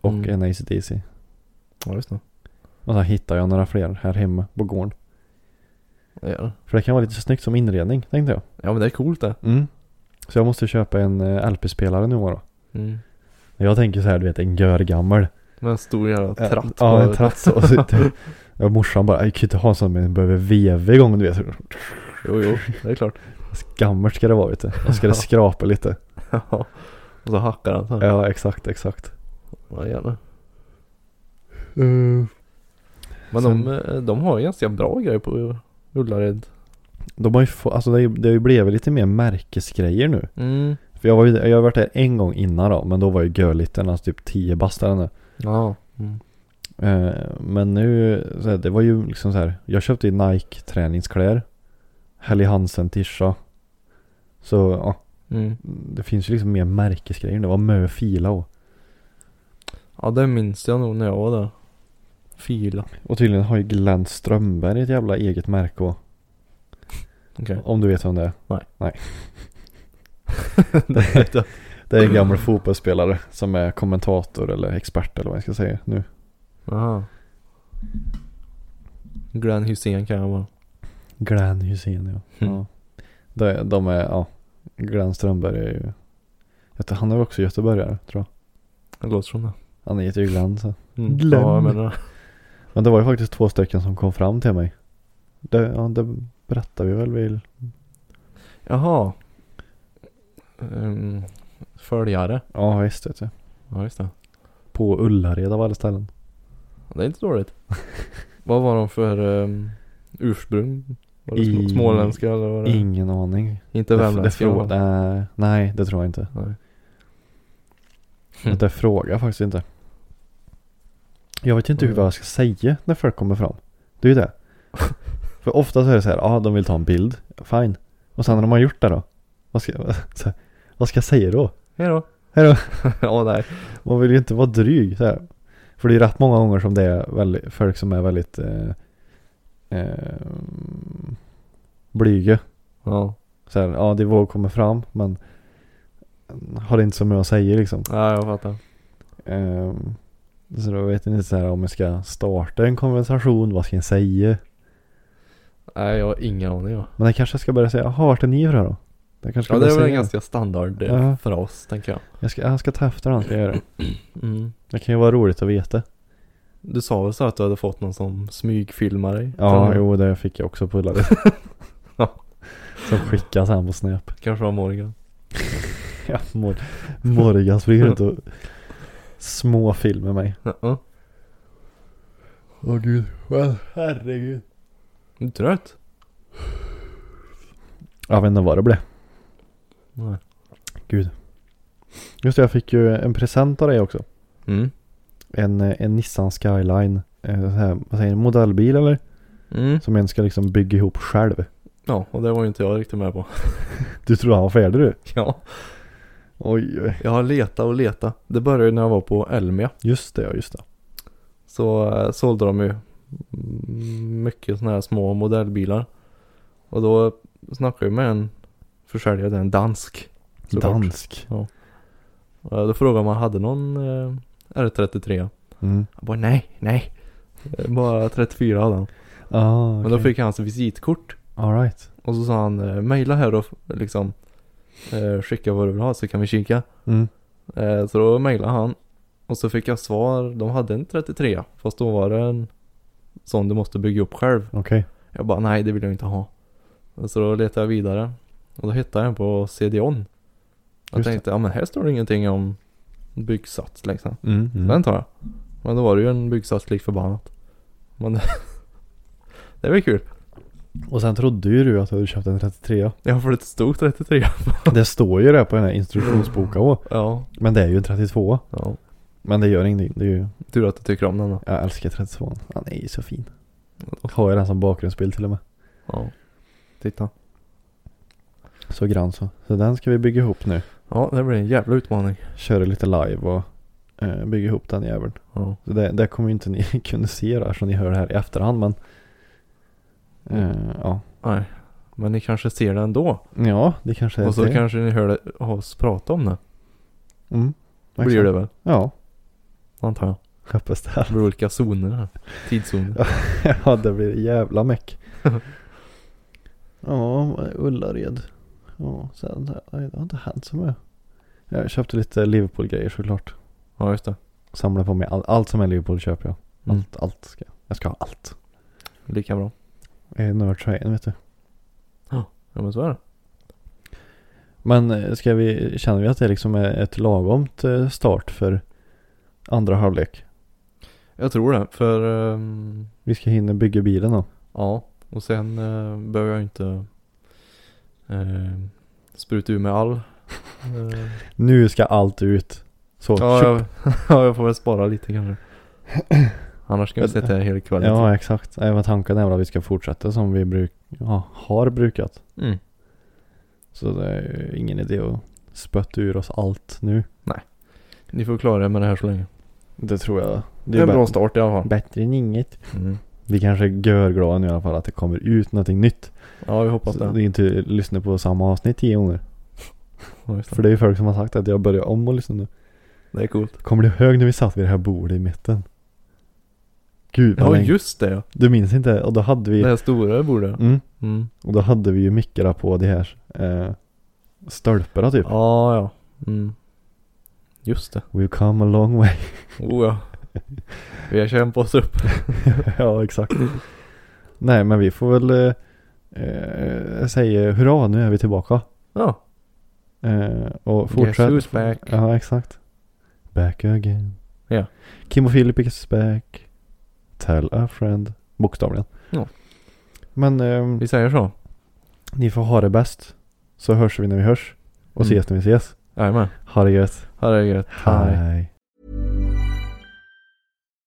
Speaker 1: och
Speaker 2: Mm.
Speaker 1: en ACDC.
Speaker 2: Ja just det.
Speaker 1: Och sen hittade jag några fler här hemma på gården.
Speaker 2: Ja, Ja,
Speaker 1: För det kan vara lite snyggt som inredning, tänkte jag.
Speaker 2: ja men det är coolt det.
Speaker 1: Mm. Så jag måste köpa en eh, LP-spelare nu då.
Speaker 2: Mm.
Speaker 1: Jag tänker så här, du vet en görgammal.
Speaker 2: Med en stor jävla tratt
Speaker 1: Ja, en
Speaker 2: på-
Speaker 1: tratt. så- Och så, ja, morsan bara, jag kan ju inte ha en sån men den behöver veva igång du vet.
Speaker 2: Jo, jo, det är klart.
Speaker 1: Gammalt ska det vara vet du. Och ska det skrapa lite.
Speaker 2: Ja. Och så hackar han så här.
Speaker 1: Ja, exakt, exakt.
Speaker 2: Ja, gärna. Eh.
Speaker 1: Mm.
Speaker 2: Men
Speaker 1: Sen-
Speaker 2: de, eh, de har ju ganska bra grejer på Ullared.
Speaker 1: De har ju få, alltså det, har ju- det har ju blivit lite mer märkesgrejer nu.
Speaker 2: Mm.
Speaker 1: För jag, var ju, jag har varit där en gång innan då, men då var ju görliten, alltså typ 10 bast eller nu.
Speaker 2: Ja. Mm.
Speaker 1: Eh, Men nu, så här, det var ju liksom så här. Jag köpte ju Nike träningskläder. Helly Hansen tisha. Så ja,
Speaker 2: Mm.
Speaker 1: det finns ju liksom mer märkesgrejer. Det var mö fila och.
Speaker 2: Ja, det minns jag nog när jag var där. Fila.
Speaker 1: Och tydligen har ju Glenn Strömberg ett jävla eget märke och.
Speaker 2: Okej.
Speaker 1: Om du vet vem det är.
Speaker 2: Nej.
Speaker 1: Nej.
Speaker 2: Det vet jag.
Speaker 1: Det är en gammal fotbollsspelare som är kommentator eller expert eller vad jag ska säga nu.
Speaker 2: Aha. Glenn Hysén kan jag vara.
Speaker 1: Glenn Hysén ja.
Speaker 2: Mm.
Speaker 1: ja. De, de är, ja. Glenn Strömberg är ju. jag tror- Han är väl också göteborgare tror jag.
Speaker 2: Det låter som det.
Speaker 1: Han heter ju Glenn så.
Speaker 2: Mm.
Speaker 1: Glenn.
Speaker 2: Ja, jag menar
Speaker 1: Men det var ju faktiskt två stycken som kom fram till mig. Det, ja, det berättade vi väl vid...
Speaker 2: Jaha. Um, följare.
Speaker 1: Ja, visst vet du.
Speaker 2: Ja, just det.
Speaker 1: På Ullared av alla ställen.
Speaker 2: Det är inte dåligt. Vad var de för um, ursprung? Var det
Speaker 1: I-
Speaker 2: I... småländska eller var det?
Speaker 1: Ingen aning.
Speaker 2: Inte värmländska?
Speaker 1: Mm. det,
Speaker 2: va?
Speaker 1: frå- nej, nej, det tror jag inte.
Speaker 2: Nej.
Speaker 1: Det frågar jag faktiskt inte. Jag vet ju inte hur vad jag ska säga när folk kommer fram. Det är ju det. För ofta så är det så här, ja de vill ta en bild, fine. Och sen när de har gjort det då? Vad ska, så här, vad ska jag säga då?
Speaker 2: Hejdå.
Speaker 1: Hejdå.
Speaker 2: ja, nej.
Speaker 1: Man vill ju inte vara dryg så här. För det är rätt många gånger som det är väldigt, folk som är väldigt eh, eh, blyga.
Speaker 2: Ja.
Speaker 1: Så här, ja det våg kommer fram men mm, har det inte som jag säger liksom.
Speaker 2: ja, jag fattar.
Speaker 1: Eh, så då vet jag inte så här om jag ska starta en konversation, vad ska jag säga?
Speaker 2: Nej, jag har ingen aning. Ja,
Speaker 1: Men jag kanske ska börja säga, jaha vart är ni ifrån då? Jag kanske ska
Speaker 2: ja det
Speaker 1: börja
Speaker 2: är väl en
Speaker 1: säga
Speaker 2: ganska standard eh,
Speaker 1: Ja.
Speaker 2: för oss, tänker jag.
Speaker 1: Jag ska, jag ska ta efter honom, ska jag göra det.
Speaker 2: Mm.
Speaker 1: Det kan ju vara roligt att veta.
Speaker 2: Du sa väl så att du hade fått någon som smygfilmar dig?
Speaker 1: Ja,
Speaker 2: Eller?
Speaker 1: jo det fick jag också på Ullared. Som skickas han på Snap.
Speaker 2: Kanske var Morgan.
Speaker 1: Ja, Mor- Morgan springer runt och små filmer mig.
Speaker 2: Ja.
Speaker 1: Åh oh, gud, herregud.
Speaker 2: Är du trött?
Speaker 1: Jag vet inte vad det blev.
Speaker 2: Nej.
Speaker 1: Gud. Just det, jag fick ju en present av dig också.
Speaker 2: Mm.
Speaker 1: En, eh, en Nissan Skyline. Eh, så här, vad säger ni, modellbil eller?
Speaker 2: Mm.
Speaker 1: Som en ska liksom bygga ihop själv.
Speaker 2: Ja, och det var ju inte jag riktigt med på.
Speaker 1: Du trodde han var färdig du?
Speaker 2: Ja,
Speaker 1: Oj, oj.
Speaker 2: jag har letat och letat. Det började ju när jag var på Elmia.
Speaker 1: Just det, ja just det.
Speaker 2: Så eh, sålde de ju mm, mycket sådana här små modellbilar. Och då snackade jag med en försäljare, det är en dansk. såklart.
Speaker 1: Dansk.
Speaker 2: Och Då frågade man hade någon eh, R33.
Speaker 1: Mm.
Speaker 2: Jag bara nej, nej. Bara 34 hade han.
Speaker 1: Ah,
Speaker 2: Men då
Speaker 1: okej.
Speaker 2: fick han hans visitkort.
Speaker 1: Alright.
Speaker 2: Och så sa han, eh, mejla här och liksom eh, skicka vad du vill ha så kan vi kika.
Speaker 1: Mm.
Speaker 2: Eh, så då mejlade han. Och så fick jag svar, de hade en 33 fast då var det en sån du måste bygga upp själv.
Speaker 1: Okej.
Speaker 2: Jag bara nej det vill jag inte ha. Och Så då letade jag vidare. Och då hittade jag en på CD-ON. Jag
Speaker 1: Just det.
Speaker 2: tänkte ja men här står det ingenting om byggsats liksom.
Speaker 1: Mm,
Speaker 2: Så Den
Speaker 1: mm.
Speaker 2: tar jag. Men då var det ju en byggsats lik förbannat. Men det var kul.
Speaker 1: Och sen trodde ju du att du hade köpt en 33
Speaker 2: Ja för det stod 33.
Speaker 1: Det står ju det på den här instruktionsboken också.
Speaker 2: Ja,
Speaker 1: Men det är ju en 32
Speaker 2: ja.
Speaker 1: Men det gör ingenting. Det är ju,
Speaker 2: Tur att du tycker om den då.
Speaker 1: jag älskar 32 Han är ju så fin. Har ju den som bakgrundsbild till och med.
Speaker 2: Ja. Titta.
Speaker 1: Så grann så. Så den ska vi bygga ihop nu.
Speaker 2: Ja det blir en jävla utmaning.
Speaker 1: Köra lite live och eh, bygga ihop den jäveln.
Speaker 2: Ja.
Speaker 1: Så det, det kommer ju inte ni kunna se då eftersom ni hör det här i efterhand men
Speaker 2: Mm.
Speaker 1: eh, ja.
Speaker 2: Nej. Men ni kanske ser det ändå.
Speaker 1: ja, det kanske är
Speaker 2: Och så
Speaker 1: det.
Speaker 2: kanske ni hör det, oss prata om det.
Speaker 1: Mm,
Speaker 2: Blir
Speaker 1: exakt.
Speaker 2: det väl?
Speaker 1: Ja,
Speaker 2: Antar jag.
Speaker 1: hoppas det.
Speaker 2: Det blir olika zoner här. Tidszoner.
Speaker 1: ja, det blir jävla meck. ja, Ullared. Ja, sen, nej, det har inte hänt så mycket. Jag köpte lite Liverpool-grejer såklart.
Speaker 2: Ja just det.
Speaker 1: Samlar på mig all, allt som är Liverpool köper jag.
Speaker 2: Mm.
Speaker 1: Allt, allt ska jag. Jag ska ha allt. Eh,
Speaker 2: Lika bra.
Speaker 1: Jag är nördtröjan vet du.
Speaker 2: Ja men så är det.
Speaker 1: Men eh, ska vi, känner vi att det liksom är ett lagomt eh, start för andra halvlek?
Speaker 2: Jag tror det. För ehm,
Speaker 1: Vi ska hinna bygga bilen då.
Speaker 2: ja. Och sen eh, behöver jag inte eh, spruta ur med all. Eh,
Speaker 1: Nu ska allt ut. Så,
Speaker 2: ja,
Speaker 1: tjopp.
Speaker 2: jag, ja jag får väl spara lite kanske. Annars kan vi sitta här hela kvällen.
Speaker 1: ja exakt. Även tanken är väl att vi ska fortsätta som vi bruk, ja, har brukat.
Speaker 2: Mm.
Speaker 1: Så det är ju ingen idé att spötta ur oss allt nu.
Speaker 2: Ni får klara er med det här så länge.
Speaker 1: Det tror jag.
Speaker 2: Det är en bra start i alla fall.
Speaker 1: Bättre än inget.
Speaker 2: Mm.
Speaker 1: Vi kanske är görglada nu i alla fall att det kommer ut någonting nytt.
Speaker 2: Ja vi hoppas
Speaker 1: Så
Speaker 2: det.
Speaker 1: det är inte lyssna på samma avsnitt tio gånger.
Speaker 2: Ja, just
Speaker 1: För
Speaker 2: det.
Speaker 1: det är ju folk som har sagt att jag börjar om och lyssna nu.
Speaker 2: Det är coolt.
Speaker 1: Kommer du ihåg när vi satt vid det här bordet i mitten? Gud vad
Speaker 2: Ja
Speaker 1: länge.
Speaker 2: just det ja.
Speaker 1: Du minns inte? Och då hade vi...
Speaker 2: Det här stora bordet.
Speaker 1: Mm,
Speaker 2: Mm.
Speaker 1: och då hade vi ju mickarna på de här eh, stolparna typ.
Speaker 2: Ja ja. Mm. Just det.
Speaker 1: We've come a long way.
Speaker 2: Oh ja. Vi har kämpat oss upp.
Speaker 1: ja, exakt. Nej, men vi får väl eh, eh, säga hurra, nu är vi tillbaka.
Speaker 2: Ja.
Speaker 1: Eh, och
Speaker 2: Guess
Speaker 1: fortsätt.
Speaker 2: who's back?
Speaker 1: Ja, exakt. Back again.
Speaker 2: Ja.
Speaker 1: Kim och Filip is back. Tell a friend. Bokstavligen.
Speaker 2: Ja.
Speaker 1: Men ehm,
Speaker 2: Vi säger så.
Speaker 1: ni får ha det bäst. Så hörs vi när vi hörs. Och
Speaker 2: Mm.
Speaker 1: ses när vi ses.
Speaker 2: Jajamän.
Speaker 1: Ha det gött.
Speaker 2: Ha det gött.
Speaker 1: Hej.